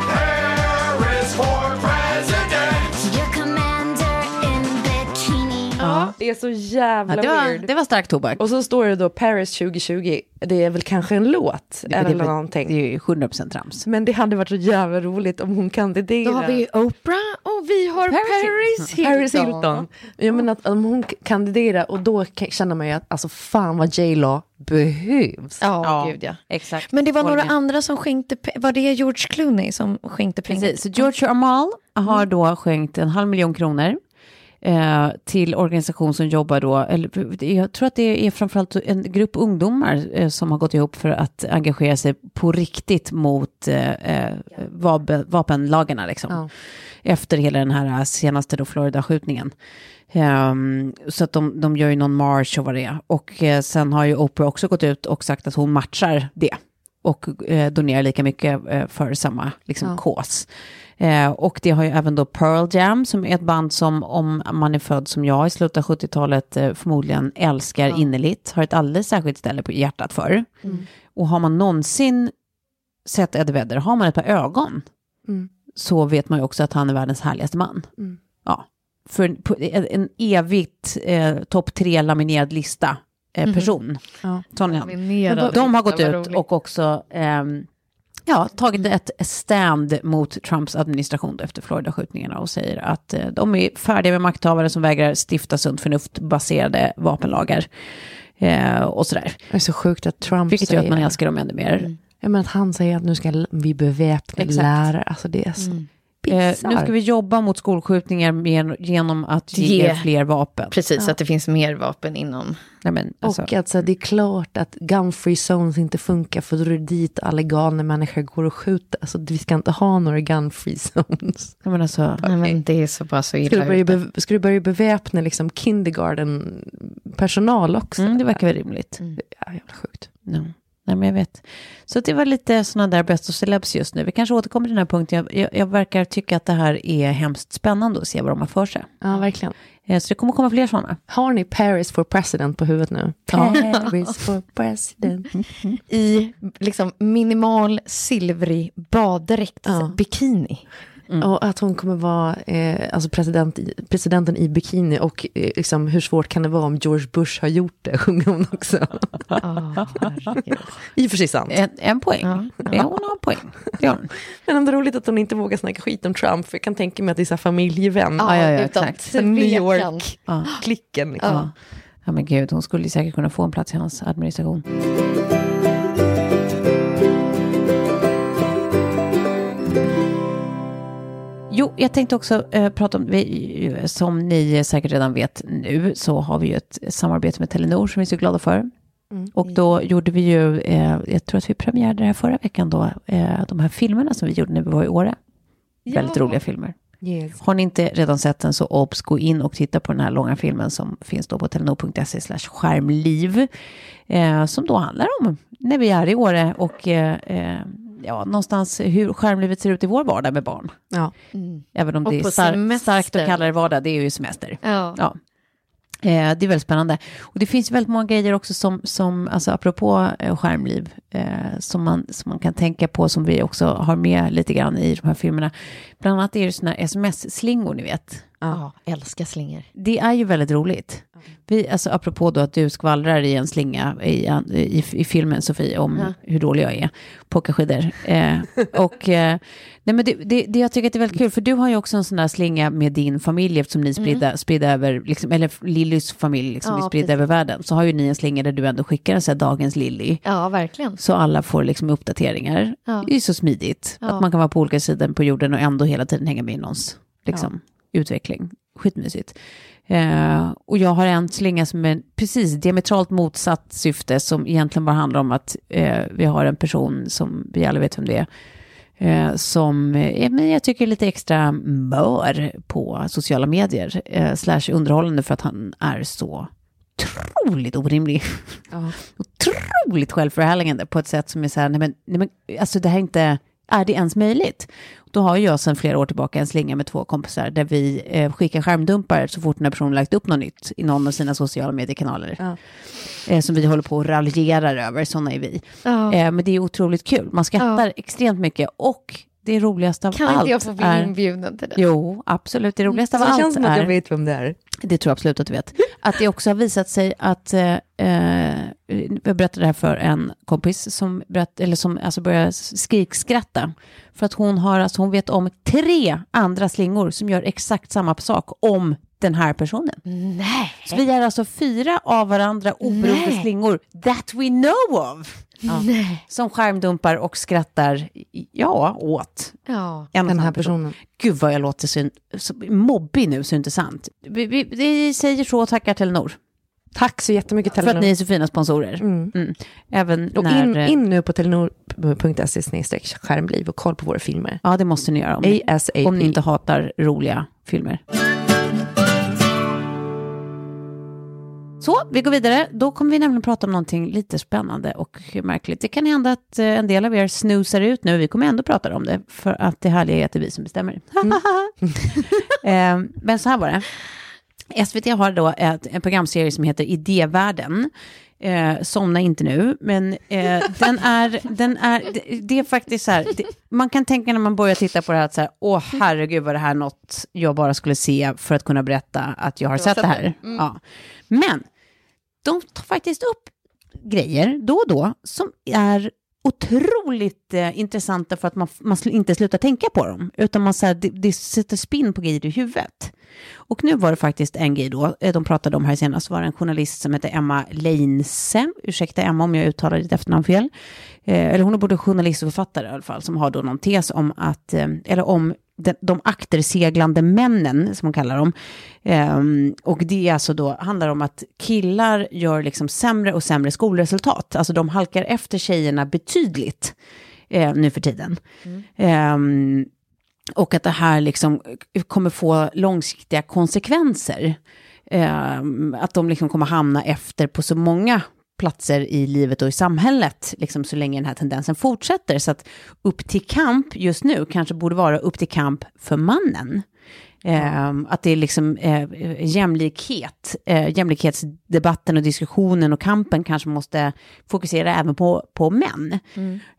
Speaker 7: Harris for president.
Speaker 8: Your commander in bikini.
Speaker 4: Ja, det är så jävla
Speaker 2: Ja, det, var,
Speaker 4: weird.
Speaker 2: det var stark tobak.
Speaker 4: Och så står det då Paris 2020, det är väl kanske en låt eller
Speaker 2: det,
Speaker 4: någonting.
Speaker 2: det är ju 100% trams.
Speaker 4: Men det hade varit så jävla roligt om hon kandiderade.
Speaker 3: Då har vi ju Oprah och vi har
Speaker 2: Mm.
Speaker 3: Paris, Hilton.
Speaker 4: Paris Hilton. Jag menar att om hon k- kandiderar och då k- känner man ju att alltså fan vad J Law behövs.
Speaker 3: Ja, gud ja.
Speaker 2: Exakt.
Speaker 3: Men det var
Speaker 2: Håller
Speaker 3: några
Speaker 2: med.
Speaker 3: andra som skänkte pe- Var det George Clooney som skänkte pengar?
Speaker 2: Precis, så George Amal har då skänkt en halv miljon kronor eh, till organisation som jobbar då, eller jag tror att det är framförallt en grupp ungdomar eh, som har gått ihop för att engagera sig på riktigt mot eh, eh, vapen, vapenlagarna liksom. Efter hela den här äh, senaste då Florida-skjutningen. Ehm, så att de, de gör ju någon march och vad det är. Och eh, sen har ju Oprah också gått ut och sagt att hon matchar det. Och eh, donerar lika mycket eh, för samma liksom, kås. Eh, och det har ju även då Pearl Jam som är ett band som om man är född som jag i slutet av 70-talet eh, förmodligen älskar innerligt. Har ett alldeles särskilt ställe på hjärtat för. Och har man någonsin sett Eddie Vedder, har man ett par ögon
Speaker 4: Mm.
Speaker 2: så vet man ju också att han är världens härligaste man. Ja. För en, på- en, en evigt eh, topp tre laminerad lista eh, person.
Speaker 4: Mhm. Ja.
Speaker 2: Sån är han.
Speaker 3: Laminerad
Speaker 2: De har
Speaker 3: lista,
Speaker 2: gått
Speaker 3: vad
Speaker 2: ut
Speaker 3: roligt.
Speaker 2: och också ehm, ja, tagit ett stand mot Trumps administration då efter Florida-skjutningarna och säger att eh, de är färdiga med makthavare som vägrar stifta sunt förnuft-baserade vapenlagar. Eh, och sådär.
Speaker 4: Det är så sjukt att Trump
Speaker 2: Vilket gör
Speaker 4: Mm. säger Mm.
Speaker 2: att man alltså älskar dem ännu mer.
Speaker 4: Jag menar att han säger att nu ska l- vi beväpna
Speaker 2: Exakt.
Speaker 4: lärare. Alltså det är så
Speaker 2: Eh,
Speaker 4: bizarrt.
Speaker 2: nu ska vi jobba mot skolskjutningar med, genom att ge,
Speaker 3: Ge.
Speaker 2: fler vapen.
Speaker 3: Precis, att det finns mer vapen inom...
Speaker 2: Nej, men, alltså,
Speaker 4: Och alltså, det är klart att gun-free zones inte funkar för då är det dit alleganer människor går och skjuter. Alltså, vi ska inte ha några gun-free zones.
Speaker 2: nej, men alltså,
Speaker 3: Nej, men det är så bara så
Speaker 4: Ska du
Speaker 3: illa.
Speaker 4: börja,
Speaker 3: ute.
Speaker 4: be- ska du börja beväpna liksom, kindergarten-personal också?
Speaker 2: mm, det verkar väl rimligt.
Speaker 4: Ja, jävla sjukt.
Speaker 2: Ja. Nej, men jag vet. Så det var lite sådana där bäst och celebs just nu. Vi kanske återkommer till den här punkten. Jag, jag, jag verkar tycka att det här är hemskt spännande att se vad de har för sig.
Speaker 4: Ja, verkligen.
Speaker 2: Eh, så det kommer komma fler sådana.
Speaker 4: Har ni Paris for president på huvudet nu? Paris for president.
Speaker 3: I liksom minimal silvrig baddräkt,
Speaker 4: Ja.
Speaker 3: bikini.
Speaker 2: Mm.
Speaker 4: Och att hon kommer vara eh, alltså president i, presidenten i bikini och eh, liksom, hur svårt kan det vara om George Bush har gjort det, sjunger hon också.
Speaker 3: Oh,
Speaker 4: I och för sig sant.
Speaker 2: En, en poäng. Ja, hon har en poäng. Det har hon.
Speaker 4: Men ändå roligt att hon inte vågar snacka skit om Trump, för jag kan tänka mig att det är så här familjevän.
Speaker 2: Ja, ja, ja,
Speaker 3: utan
Speaker 2: exakt.
Speaker 4: Så New
Speaker 3: tvekan.
Speaker 4: York. Klicken. Liksom.
Speaker 2: Ja. ja, men gud, hon skulle ju säkert kunna få en plats i hans administration. Jo, jag tänkte också eh, prata om, vi, som ni säkert redan vet nu, så har vi ju ett samarbete med Telenor som vi är så glada för. Och då gjorde vi ju, eh, jag tror att vi premiärade det här förra veckan då, eh, de här filmerna som vi gjorde när vi var i Åre. Väldigt roliga filmer.
Speaker 4: Yes.
Speaker 2: Har ni inte redan sett den så obs, gå in och titta på den här långa filmen som finns då på telenor.se slash skärmliv. Eh, som då handlar om när vi är i Åre och eh, eh, ja, någonstans hur skärmlivet ser ut i vår vardag med barn.
Speaker 4: Ja.
Speaker 2: Även om
Speaker 3: Och
Speaker 2: det är
Speaker 3: på
Speaker 2: star-
Speaker 3: semester.
Speaker 2: starkt att kalla det vardag, det är ju semester.
Speaker 3: Ja.
Speaker 2: Ja. Eh, det är väldigt spännande. Och det finns ju väldigt många grejer också som, som alltså apropå eh, skärmliv, eh, som, man, som man kan tänka på, som vi också har med lite grann i de här filmerna. Bland annat är det sådana här sms-slingor, ni vet.
Speaker 3: Ja, älskar slingor.
Speaker 2: Det är ju väldigt roligt. Vi, alltså, apropå då att du skvallrar i en slinga i, i, i filmen, Sofie, om hur dålig jag är på att åka skidor. Eh, och, eh, nej, men det, det, det jag tycker att det är väldigt kul, för du har ju också en sån där slinga med din familj, eftersom ni är spridda, spridda över, liksom, eller Lillys familj liksom,
Speaker 3: Mm. Ja,
Speaker 2: är spridda
Speaker 3: precis.
Speaker 2: över världen, så har ju ni en slinga där du ändå skickar en sån här dagens Lilly.
Speaker 3: Ja, verkligen.
Speaker 2: Så alla får liksom uppdateringar.
Speaker 3: Ja.
Speaker 2: Det är ju så smidigt. Att man kan vara på olika sidor på jorden och ändå hela tiden hänga med i någons liksom, utveckling. Skitmysigt. Eh, och jag har en slinga som är precis diametralt motsatt syfte som egentligen bara handlar om att eh, vi har en person som vi alla vet vem det är. Eh, som eh, men jag tycker är lite extra mör på sociala medier. Eh, slash underhållande för att han är så otroligt orimlig otroligt självförhärligande på ett sätt som är så här, nej men, nej men alltså det här är inte Är det ens möjligt? Då har ju jag sedan flera år tillbaka en slinga med två kompisar där vi eh, skickar skärmdumpar så fort den här personen lagt upp något nytt i någon av sina sociala mediekanaler. Eh, som vi håller på och raljerar över, sådana är vi.
Speaker 3: Ja.
Speaker 2: Eh, men det är otroligt kul, man skrattar extrent mycket och det roligaste av
Speaker 3: Kan
Speaker 2: allt
Speaker 3: inte jag få bli
Speaker 2: är...
Speaker 3: inbjuden till det?
Speaker 2: Jo, absolut. Det roligaste av
Speaker 4: Så det
Speaker 2: allt
Speaker 4: känns som
Speaker 2: är...
Speaker 4: att jag vet vem det är.
Speaker 2: Det tror jag absolut att du vet. Att det också har visat sig att, eh, eh, jag berättade det här för en kompis som, berätt, eller som alltså börjar skrikskratta. För att hon, har, alltså, hon vet om tre andra slingor som gör exakt samma sak om den här personen.
Speaker 3: Nej.
Speaker 2: Så vi är alltså fyra av varandra oberoende
Speaker 3: Nej.
Speaker 2: slingor, that we know of,
Speaker 3: Nej.
Speaker 2: som skärmdumpar och skrattar, ja, åt
Speaker 3: Ja.
Speaker 2: en och
Speaker 4: Den
Speaker 2: samma
Speaker 4: här
Speaker 2: person.
Speaker 4: personen.
Speaker 2: Gud vad jag låter så, så mobbig nu, så inte sant. Vi, vi, vi säger så och tackar Telenor.
Speaker 4: Tack så jättemycket
Speaker 2: För att
Speaker 4: Telenor.
Speaker 2: ni är så fina sponsorer.
Speaker 4: Mm.
Speaker 2: Mm. Även
Speaker 4: Och
Speaker 2: när... eh,
Speaker 4: in, in nu på telenor.se snedstreck E skärmliv och koll på våra filmer.
Speaker 2: Ja, det måste ni göra om, ni-
Speaker 4: ASAP.
Speaker 2: om ni inte hatar roliga filmer. Så, vi går vidare. Då kommer vi nämligen prata om någonting lite spännande och märkligt. Det kan hända att eh, en del av er snusar ut nu. Vi kommer ändå prata om det, för att det härliga är att det är vi som bestämmer. Eh, Men så här var det. SVT har då ett, en programserie som heter Idévärlden. Eh, somna inte nu, men eh, den är, den är, det, det är faktiskt så här, det, man kan tänka när man börjar titta på det här att så här, åh herregud var det här något jag bara skulle se för att kunna berätta att jag har sett det Mm. här. Ja. Men de tar faktiskt upp grejer då och då som är otroligt eh, intressanta för att man, man sl- inte slutar tänka på dem, utan man så här, det, det sätter spinn på grejer i huvudet. Och nu var det faktiskt en grej då, eh, de pratade om här senast, var det en journalist som hette Emma Leinse, ursäkta Emma om jag uttalar ditt efternamn fel, eh, eller hon är både journalist och författare i alla fall, som har då någon tes om att, eh, eller om de, de akterseglande männen, som hon kallar dem. Ehm, och det är alltså då, handlar om att killar gör liksom sämre och sämre skolresultat. Alltså de halkar efter tjejerna betydligt eh, nu för tiden. Ehm, och att det här liksom kommer få långsiktiga konsekvenser. Ehm, att de liksom kommer hamna efter på så många platser i livet och i samhället, liksom så länge den här tendensen fortsätter. Så att upp till kamp just nu kanske borde vara upp till kamp för mannen. Ehm, att det är liksom eh, jämlikhet, eh, jämlikhetsdebatten och diskussionen och kampen kanske måste fokusera även på, på män.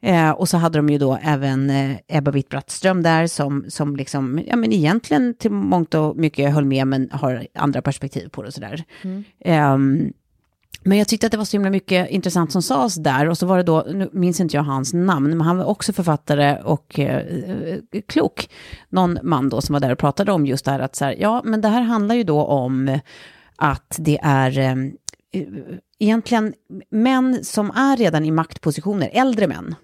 Speaker 2: Eh, och så hade de ju då även eh, Ebba Witt-Brattström där som, som liksom, ja men egentligen till mångt och mycket höll med men har andra perspektiv på det och sådär. Ehm, men jag tyckte att det var så himla mycket intressant som sades där. Och så var det då, nu minns inte jag hans namn, men han var också författare och eh, eh, klok. Någon man då som var där och pratade om just det här att så här, ja, men det här handlar ju då om att det är eh, egentligen män som är redan i maktpositioner, äldre män,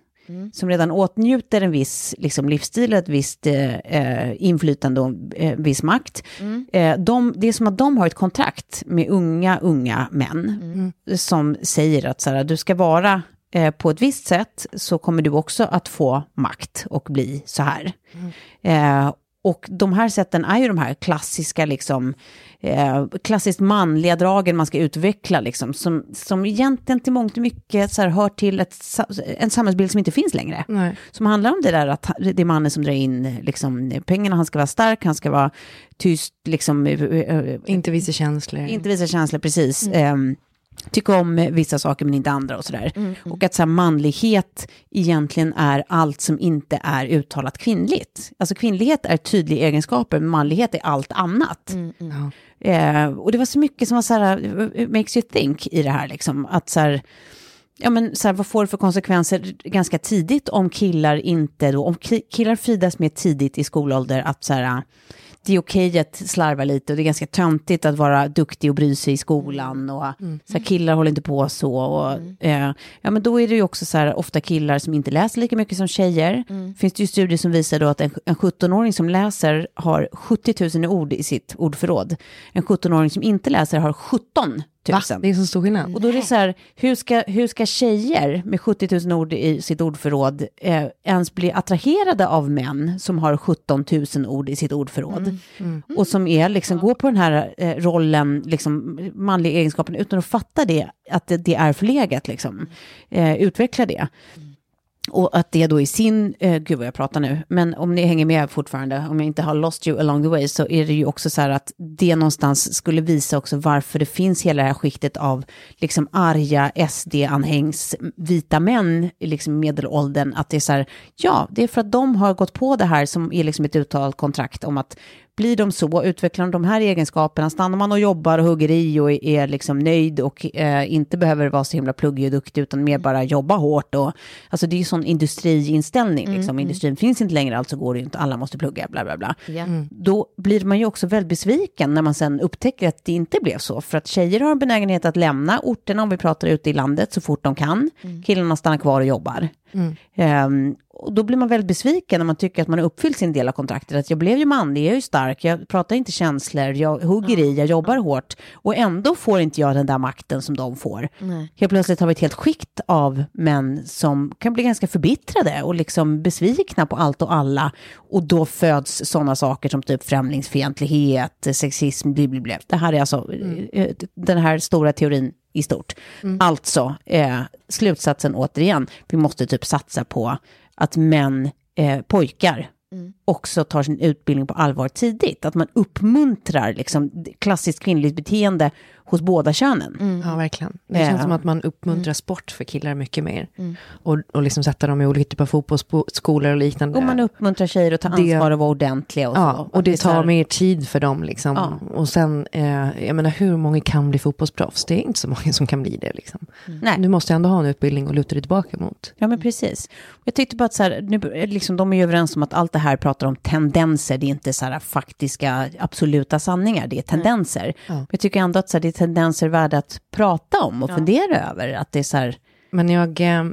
Speaker 2: som redan åtnjuter en viss liksom, livsstil, ett visst eh, eh, inflytande och eh, viss makt. Eh, de, det är som att de har ett kontrakt med unga, unga män som säger att så här, du ska vara eh, på ett visst sätt så kommer du också att få makt och bli så här. Eh, och de här sätten är ju de här klassiska, liksom, eh, klassiskt manliga dragen man ska utveckla, liksom, som, som egentligen till mångt och mycket så här, hör till ett, sa- en samhällsbild som inte finns längre.
Speaker 4: Nej.
Speaker 2: Som handlar om det där att ha- det är mannen som drar in liksom, pengarna, han ska vara stark, han ska vara tyst, liksom, eh, eh,
Speaker 4: Inte visa känslor.
Speaker 2: inte visa känslor, precis. Ehm, tycka om eh, vissa saker men inte andra och sådär. Och att så här, manlighet egentligen är allt som inte är uttalat kvinnligt. Alltså kvinnlighet är tydliga egenskaper, men manlighet är allt annat. Eh, och det var så mycket som var så här, eh, makes you think i det här liksom. Att så här, ja men så här, vad får det för konsekvenser ganska tidigt om killar inte då, om ki- killar fridas med tidigt i skolålder att så här, det är okej att slarva lite och det är ganska töntigt att vara duktig och bry sig i skolan och så här, killar håller inte på så och eh, ja men då är det ju också så här ofta killar som inte läser lika mycket som tjejer. Finns det ju studier som visar då att en, en 17-åring som läser har 70 000 ord i sitt ordförråd. En 17-åring som inte läser har 17 000.
Speaker 4: Det är så stor skillnad.
Speaker 2: Mm. Och då är det så här, hur ska, hur ska tjejer med 70 000 ord i sitt ordförråd eh, ens bli attraherade av män som har 17 000 ord i sitt ordförråd? Och som är, liksom, går på den här eh, rollen, liksom, manliga egenskapen, utan att fatta det, att det, det är förlegat, liksom. eh, utveckla det. Och att det då i sin, eh, gud vad jag pratar nu, men om ni hänger med fortfarande, om jag inte har lost you along the way, så är det ju också så här att det någonstans skulle visa också varför det finns hela det här skiktet av liksom arga SD-anhängs vita män i liksom medelåldern, att det är så här, ja, det är för att de har gått på det här som är liksom ett uttalat kontrakt om att blir de så, utvecklar de de här egenskaperna, stannar man och jobbar och hugger i och är liksom nöjd och eh, inte behöver vara så himla pluggig och duktig utan mer bara jobba hårt. Och, alltså det är ju sån industriinställning, liksom.
Speaker 3: Mm, mm.
Speaker 2: industrin finns inte längre, alltså går det ju inte, alla måste plugga, bla bla bla.
Speaker 3: Ja. Mm.
Speaker 2: Då blir man ju också väldigt besviken när man sen upptäcker att det inte blev så, för att tjejer har en benägenhet att lämna orterna, om vi pratar ute i landet, så fort de kan.
Speaker 3: Mm.
Speaker 2: Killarna stannar kvar och jobbar.
Speaker 4: Mm.
Speaker 2: Ehm, och då blir man väldigt besviken när man tycker att man har uppfyllt sin del av kontraktet. Att jag blev ju manlig, jag är ju stark, jag pratar inte känslor, jag hugger i, jag jobbar hårt. Och ändå får inte jag den där makten som de får.
Speaker 3: Nej.
Speaker 2: Helt plötsligt har vi ett helt skikt av män som kan bli ganska förbittrade och liksom besvikna på allt och alla. Och då föds sådana saker som typ främlingsfientlighet, sexism, bli, bli, bli. Det här är alltså eh, den här stora teorin i stort. Alltså, eh, slutsatsen återigen, vi måste typ satsa på att män, eh, pojkar,
Speaker 4: Mm.
Speaker 2: också tar sin utbildning på allvar tidigt. Att man uppmuntrar liksom, klassiskt kvinnligt beteende hos båda könen.
Speaker 4: Ja, verkligen. Det
Speaker 2: Mm. Ja. Mm.
Speaker 4: känns som att man uppmuntrar sport för killar mycket mer. Och, och liksom sätta dem i olika typer av fotbollsskolor och liknande.
Speaker 2: Och man uppmuntrar tjejer att ta
Speaker 4: Det-
Speaker 2: ansvar och vara ordentliga. Och,
Speaker 4: Ja,
Speaker 2: så.
Speaker 4: och det
Speaker 2: Att så
Speaker 4: tar
Speaker 2: här-
Speaker 4: mer tid för dem. Liksom.
Speaker 2: Ja.
Speaker 4: Och sen, eh, jag menar hur många kan bli fotbollsproffs? Det är inte så många som kan bli det. Liksom.
Speaker 2: Nej.
Speaker 4: Du måste ändå ha en utbildning och luta dig tillbaka mot.
Speaker 2: Ja, men precis. Jag tyckte bara att så här, nu, liksom, de är ju överens om att allt det här pratar om tendenser, det är inte så här faktiska absoluta sanningar, det är tendenser. Men Jag tycker ändå att så här, det är tendenser värda att prata om och fundera över. Att det är så här,
Speaker 4: Men jag eh,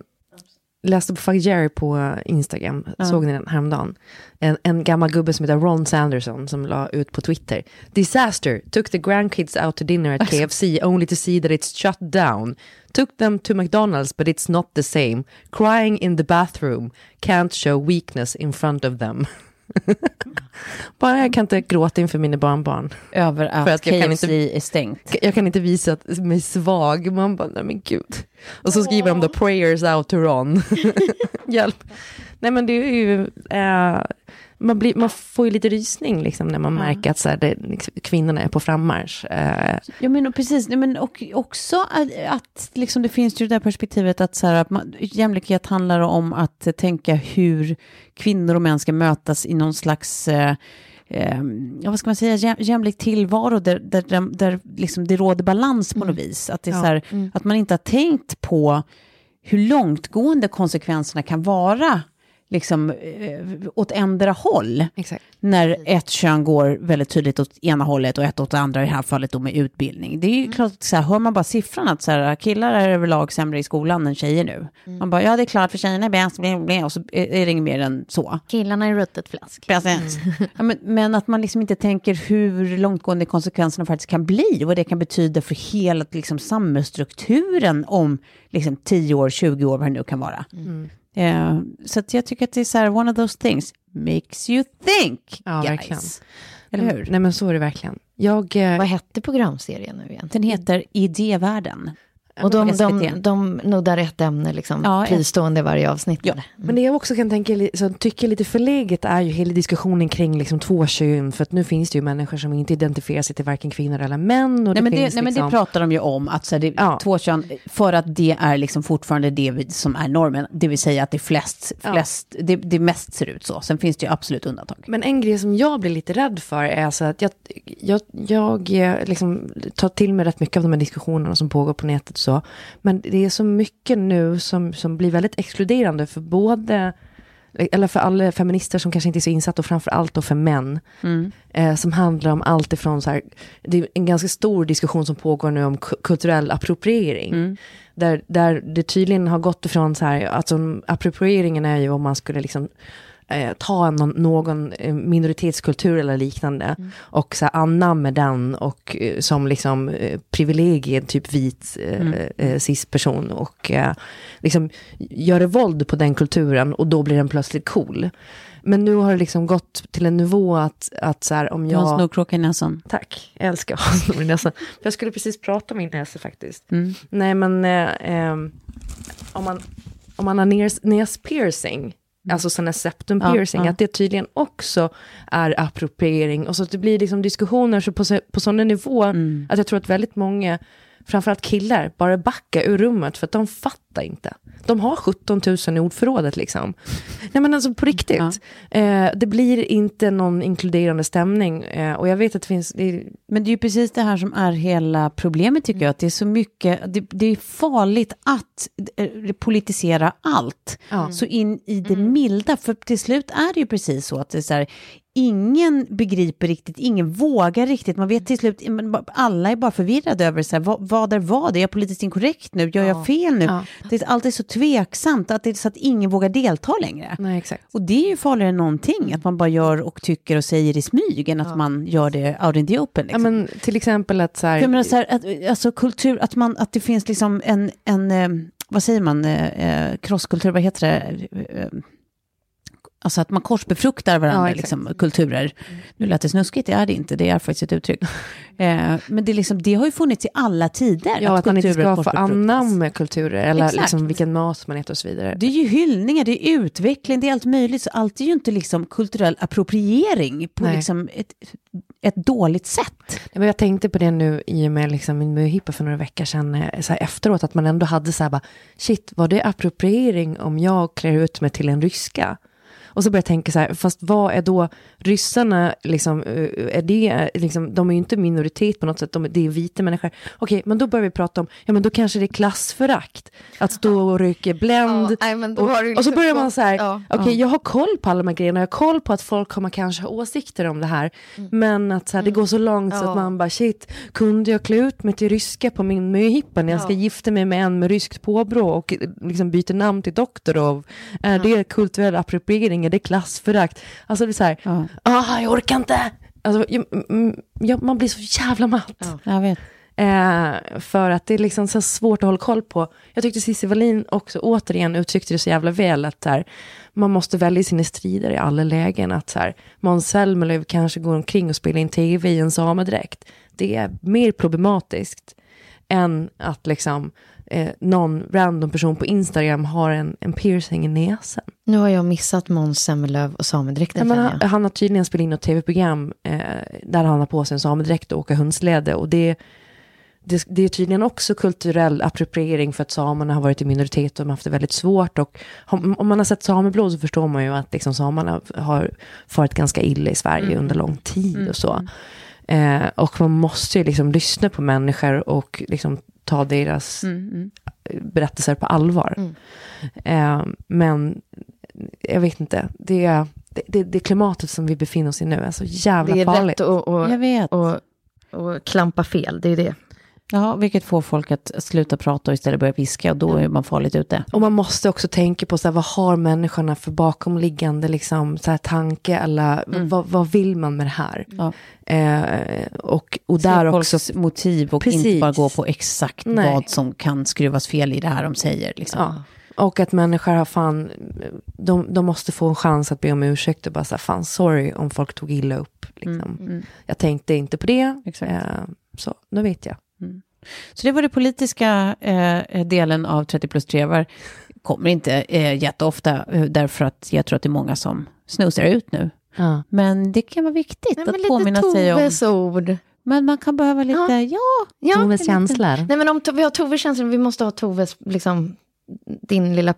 Speaker 4: läste på Fuck Jerry på Instagram, såg ni den häromdagen? En, en gammal gubbe som heter Ron Sanderson som la ut på Twitter. Disaster, took the grandkids out to dinner at KFC only to see that it's shut down. Took them to McDonald's but it's not the same. Crying in the bathroom, can't show weakness in front of them. Bara jag kan inte gråta inför mina barnbarn.
Speaker 2: över att,
Speaker 4: För att jag
Speaker 2: KFC
Speaker 4: kan inte-
Speaker 2: är stängt.
Speaker 4: Jag kan inte visa att mig svag. Man bara, nej men gud. Och så skriver de då prayers out to Ron. Hjälp. Nej men det är ju, eh, man, blir, man får ju lite rysning liksom när man märker att så här, det, liksom, kvinnorna är på frammarsch. Eh,
Speaker 2: Ja, men och precis. Nej, men och också att, att liksom, det finns ju det där perspektivet att, så här, att man, jämlikhet handlar om att eh, tänka hur kvinnor och män ska mötas i någon slags eh, eh, ja, vad ska man säga, jäm, jämlik tillvaro där, där, där, där liksom det råder balans på något vis. Att, det är så här, att man inte har tänkt på hur långtgående konsekvenserna kan vara liksom, eh, åt ändera håll
Speaker 4: Exakt.
Speaker 2: när ett kön går väldigt tydligt åt ena hållet och ett åt det andra, i det här fallet då med utbildning. Det är ju klart, att så här, hör man bara siffran att så här, killar är överlag sämre i skolan än tjejer nu. Man bara, ja det är klart, för tjejerna är bäst, blä, blä, och så är är det inget mer än så.
Speaker 3: Killarna är ruttet flask.
Speaker 2: Precis. Mm. Ja, men, men att man liksom inte tänker hur långtgående konsekvenserna faktiskt kan bli och vad det kan betyda för hela liksom, samhällsstrukturen om liksom, 10 år, 20 år, vad det nu kan vara. Eh, så att jag tycker att det är så här, one of those things makes you think,
Speaker 4: Ja,
Speaker 2: guys.
Speaker 4: verkligen.
Speaker 2: Eller hur?
Speaker 4: Nej men så är det verkligen. Jag, eh,
Speaker 3: Vad hette programserien nu igen?
Speaker 2: Den heter Idévärlden.
Speaker 3: Och de,
Speaker 2: SVT.
Speaker 3: de, de nuddar ett ämne liksom,
Speaker 2: Ja,
Speaker 3: fristående i varje avsnitt.
Speaker 2: Ja.
Speaker 3: eller?
Speaker 4: Men det jag också kan tänka, li- som tycker är lite förlegat är ju hela diskussionen kring liksom två kön, för att nu finns det ju människor som inte identifierar sig till varken kvinnor eller män. Och
Speaker 2: Nej, men det,
Speaker 4: finns
Speaker 2: nej, men det
Speaker 4: liksom-
Speaker 2: pratar de ju om, att så här, det,
Speaker 4: Ja.
Speaker 2: två kön, för att det är liksom fortfarande det vi- som är normen, det vill säga att det, flest, flest, det, det mest ser ut så. Sen finns det ju absolut undantag.
Speaker 4: Men en grej som jag blir lite rädd för är så att jag, jag, jag eh, liksom tar till mig rätt mycket av de här diskussionerna som pågår på nätet och så. Men det är så mycket nu som, som blir väldigt exkluderande för både, eller för alla feminister som kanske inte är så insatta och framförallt då för män. Eh, som handlar om allt ifrån så här, det är en ganska stor diskussion som pågår nu om ku- kulturell appropriering. Där, där det tydligen har gått ifrån så här, alltså approprieringen är ju om man skulle liksom eh, ta någon, någon eh, minoritetskultur eller liknande och så här, anamma den och eh, som liksom eh, privilegier, typ vit eh, eh, cis-person och eh, liksom göra våld på den kulturen och då blir den plötsligt cool. Men nu har det liksom gått till en nivå att, att så här, om
Speaker 2: Du har en
Speaker 4: jag...
Speaker 2: snorkråka i näsan.
Speaker 4: Tack, jag älskar att ha snor i näsan. För Jag Mm. skulle precis prata om min näsa faktiskt. Nej men, eh, ehm, om, man, om man har nes, näspiercing, alltså sån här septum
Speaker 2: Mm. Ja,
Speaker 4: piercing,
Speaker 2: ja.
Speaker 4: att det tydligen också är appropriering. Och så att det blir liksom diskussioner så på, så- på sån nivå
Speaker 2: Mm.
Speaker 4: att jag tror att väldigt många, framförallt killar, bara backar ur rummet för att de fattar inte. De har 17 000 i ordförrådet liksom. Nej men alltså på riktigt. Eh, det blir inte någon inkluderande stämning. Eh, och jag vet att det finns... Det,
Speaker 2: Men det är ju precis det här som är hela problemet tycker jag, att det är så mycket, det, det är farligt att eh, politisera allt,
Speaker 4: Mm.
Speaker 2: så in i det milda, för till slut är det ju precis så att det är så här, ingen begriper riktigt, ingen vågar riktigt, man vet till slut, men ba- alla är bara förvirrade över så här, vad, vad är vad, är jag politiskt inkorrekt nu, gör jag fel nu?
Speaker 4: Ja.
Speaker 2: Det är alltid så tveksamt, att det är så att ingen vågar delta längre.
Speaker 4: nej exakt.
Speaker 2: Och det är ju farligare än någonting, att man bara gör och tycker och säger i smyg, än att man gör det out in the open.
Speaker 4: Ja,
Speaker 2: Liksom.
Speaker 4: men, till exempel att så här...
Speaker 2: Jag menar så här, att, alltså kultur, att, man, att det finns liksom en, en eh, vad säger man, eh, eh, krosskultur, vad heter det? Eh, eh, Alltså att man korsbefruktar
Speaker 4: Ja,
Speaker 2: varandra,
Speaker 4: exakt. Mm.
Speaker 2: liksom, kulturer. Nu lät det snuskigt, det är det inte, det är faktiskt ett uttryck. Eh, men det, är liksom, det har ju funnits i alla tider.
Speaker 4: Ja, att, man inte
Speaker 2: kulturer
Speaker 4: ska få
Speaker 2: korsbefruktas.
Speaker 4: anamma kulturer, eller
Speaker 2: Exakt.
Speaker 4: liksom vilken mat man äter och så vidare.
Speaker 2: Det är ju hyllningar, det är utveckling, det är allt möjligt. Så allt är ju inte liksom kulturell appropriering på
Speaker 4: Nej.
Speaker 2: liksom ett, ett dåligt sätt.
Speaker 4: Nej, Men jag tänkte på det nu i och med liksom min möhippa för några veckor sedan, eh, så här efteråt, att man ändå hade så här bara, shit, var det appropriering om jag klär ut mig till en ryska? Och så började jag tänka så här, fast vad är då ryssarna, liksom, eh, är det, liksom, de är ju inte minoritet på något sätt, de, det är vita människor. Okej, men då börjar vi prata om, ja men då kanske det är klassförakt, att stå och röka Blend.
Speaker 3: Ja, nej, men då
Speaker 4: och,
Speaker 3: har du
Speaker 4: och så
Speaker 3: liksom
Speaker 4: börjar man
Speaker 3: fått-
Speaker 4: så här,
Speaker 3: ja.
Speaker 4: okej jag har koll på alla de här grejerna, jag har koll på att folk kommer kanske ha åsikter om det här, men att så här, det går så långt så
Speaker 3: Mm. Ja.
Speaker 4: att man bara shit, kunde jag klä ut mig till ryska på min möhippa när jag ska
Speaker 3: Ja.
Speaker 4: gifta mig med en med ryskt påbrå och eh, liksom byter namn till doktor och är det kulturell appropriering, är det klassförakt? Alltså det är så här,
Speaker 2: Ja.
Speaker 4: ah, jag orkar inte! Alltså, jag, mm, jag, man blir så jävla matt.
Speaker 2: Jag vet.
Speaker 4: Eh, för att det är liksom så svårt att hålla koll på. Jag tyckte Cissi Wallin också återigen uttryckte det så jävla väl att där, man måste välja sina strider i alla lägen. Att så här, Måns Zelmerlöw kanske går omkring och spelar in tv i en samedräkt. Det är mer problematiskt än att liksom, eh, någon random person på Instagram har en, en piercing i näsan.
Speaker 3: Nu har jag missat Måns Zelmerlöw och
Speaker 4: Ja,
Speaker 3: samedräkten.
Speaker 4: men
Speaker 3: känner
Speaker 4: han,
Speaker 3: jag.
Speaker 4: han har tydligen spelat in något tv-program eh, där han har på sig en samedräkt och åker hundsläde. Och det, det, det är tydligen också kulturell appropriering för att samerna har varit i minoritet och de har haft det väldigt svårt. Och om, om man har sett sameblod så förstår man ju att liksom samerna har farit ganska illa i Sverige
Speaker 3: Mm.
Speaker 4: under lång tid och så. Eh, och man måste ju liksom lyssna på människor och liksom ta deras
Speaker 3: Mm,
Speaker 4: berättelser på allvar. Eh, men jag vet inte, det, är- det, det, det klimatet som vi befinner oss i nu är så jävla
Speaker 3: det är
Speaker 4: farligt.
Speaker 3: lätt att
Speaker 2: Jag
Speaker 3: och,
Speaker 2: vet.
Speaker 3: och, och klampa fel, det är det.
Speaker 2: Ja, vilket får folk att sluta prata och istället börja viska och då är man farligt ute.
Speaker 4: Och man måste också tänka på så här, vad har människorna för bakomliggande liksom, så här, tanke eller
Speaker 3: Mm.
Speaker 4: vad, vad vill man med det här?
Speaker 2: Ja.
Speaker 4: Eh, och, och där
Speaker 2: Se
Speaker 4: också,
Speaker 2: folks motiv och inte
Speaker 4: Precis.
Speaker 2: bara gå på exakt
Speaker 4: Nej.
Speaker 2: vad som kan skruvas fel i det här de säger. Liksom.
Speaker 4: ja, och att människor har fan, de, de måste få en chans att be om ursäkt och bara så här, fan sorry om folk tog illa upp. Liksom. Jag tänkte inte på det,
Speaker 2: Exakt.
Speaker 4: Eh, så nu vet jag.
Speaker 2: Så det var den politiska eh, delen av 30 plus 3 var Kommer inte eh, jätteofta, eh, därför att jag tror att det är många som snusar ut nu.
Speaker 4: Ja.
Speaker 2: Men det kan vara viktigt
Speaker 3: Nej,
Speaker 2: att påminna sig om.
Speaker 3: ord.
Speaker 2: Men man kan behöva lite, ja,
Speaker 3: Ja,
Speaker 4: Toves
Speaker 3: en liten-
Speaker 4: känslor.
Speaker 3: Nej, men om To- vi har Toves känslor, vi måste ha Toves, liksom, din lilla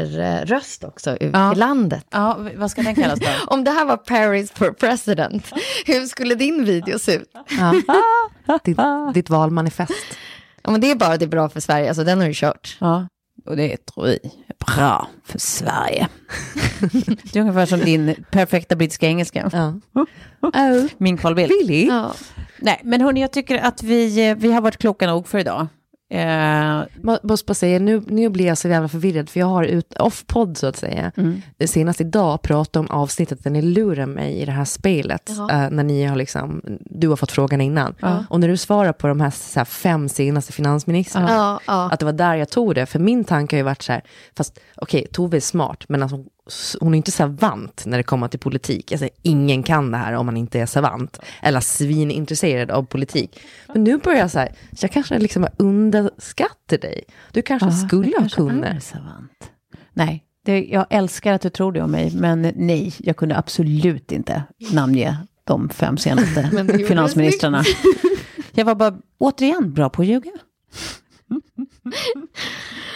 Speaker 3: politikerröst också ut
Speaker 2: Ja.
Speaker 3: i landet.
Speaker 2: ja. vad ska den kallas då?
Speaker 3: Om det här var Paris for president, hur skulle din video se ut?
Speaker 4: Ja. ditt, ditt valmanifest.
Speaker 3: Ja, men det är bara det är bra för Sverige, alltså, den har du kört.
Speaker 2: Ja, och det tror vi är bra för Sverige. det är ungefär som din perfekta brittiska engelska.
Speaker 4: Ja. Oh,
Speaker 2: Min Carl Bildt.
Speaker 4: really?
Speaker 3: Ja.
Speaker 2: Nej, men hörni, jag tycker att vi, eh, vi har varit kloka nog för idag. Eh,
Speaker 4: Må- Måste bara säga, nu, nu blir jag så jävla förvirrad, för jag har ut, off-podd så att säga, senast idag pratat om avsnittet där ni lurar mig i det här spelet, eh, när ni har liksom, du har fått frågan innan. Och när du svarar på de här, så här fem senaste finansministrarna,
Speaker 3: Ja, ja.
Speaker 4: att det var där jag tog det, för min tanke har ju varit så här, fast okej, Tove är smart, men alltså, hon är inte savant när det kommer till politik. Alltså, ingen kan det här om man inte är savant, eller svinintresserad av politik. Men nu börjar jag så här, så jag kanske liksom underskattar dig. Du kanske skulle ha kunnat.
Speaker 2: savant. Nej, det, jag älskar att du tror det om mig, men nej, jag kunde absolut inte namnge de fem senaste
Speaker 9: Men det gjorde
Speaker 2: finansministrarna. Jag var bara, återigen, bra på att ljuga.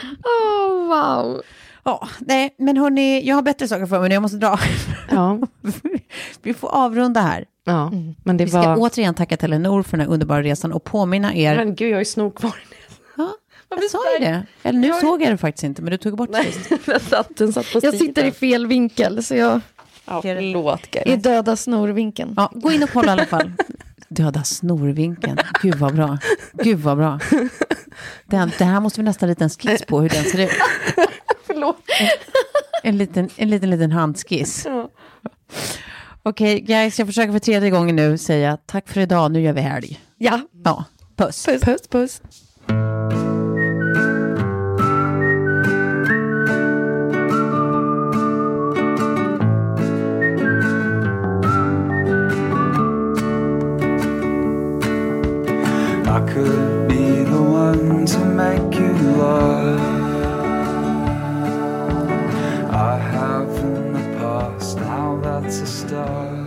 Speaker 9: Oh, wow.
Speaker 2: Ja, nej, men hörni, jag har bättre saker för mig nu, jag måste dra.
Speaker 4: Ja,
Speaker 2: Vi får avrunda här.
Speaker 4: ja. men det
Speaker 2: Vi ska
Speaker 4: var...
Speaker 2: återigen tacka Telenor för den här underbara resan och påminna er...
Speaker 4: Men gud, jag har ju snor kvar.
Speaker 2: ja, jag sa ju det. Eller nu såg jag det faktiskt inte, men du tog bort sist.
Speaker 4: Den satt, den satt på
Speaker 9: Jag sitter i fel vinkel, så jag
Speaker 4: Ja, förlåt, Gary.
Speaker 9: är döda snorvinkeln.
Speaker 2: Ja, gå in och kolla i alla fall. Döda snorvinkeln. Gud vad bra. Gud vad bra. Den, det här måste vi nästan en liten skiss på hur den ser ut.
Speaker 4: Förlåt.
Speaker 2: En liten, en liten, liten handskiss. Okej, guys, jag försöker för tredje gången nu säga tack för idag, nu gör vi helg.
Speaker 9: Ja.
Speaker 2: Ja, puss.
Speaker 4: Puss, puss.
Speaker 1: I could be the one to make you laugh. I have in the past, now that's a start.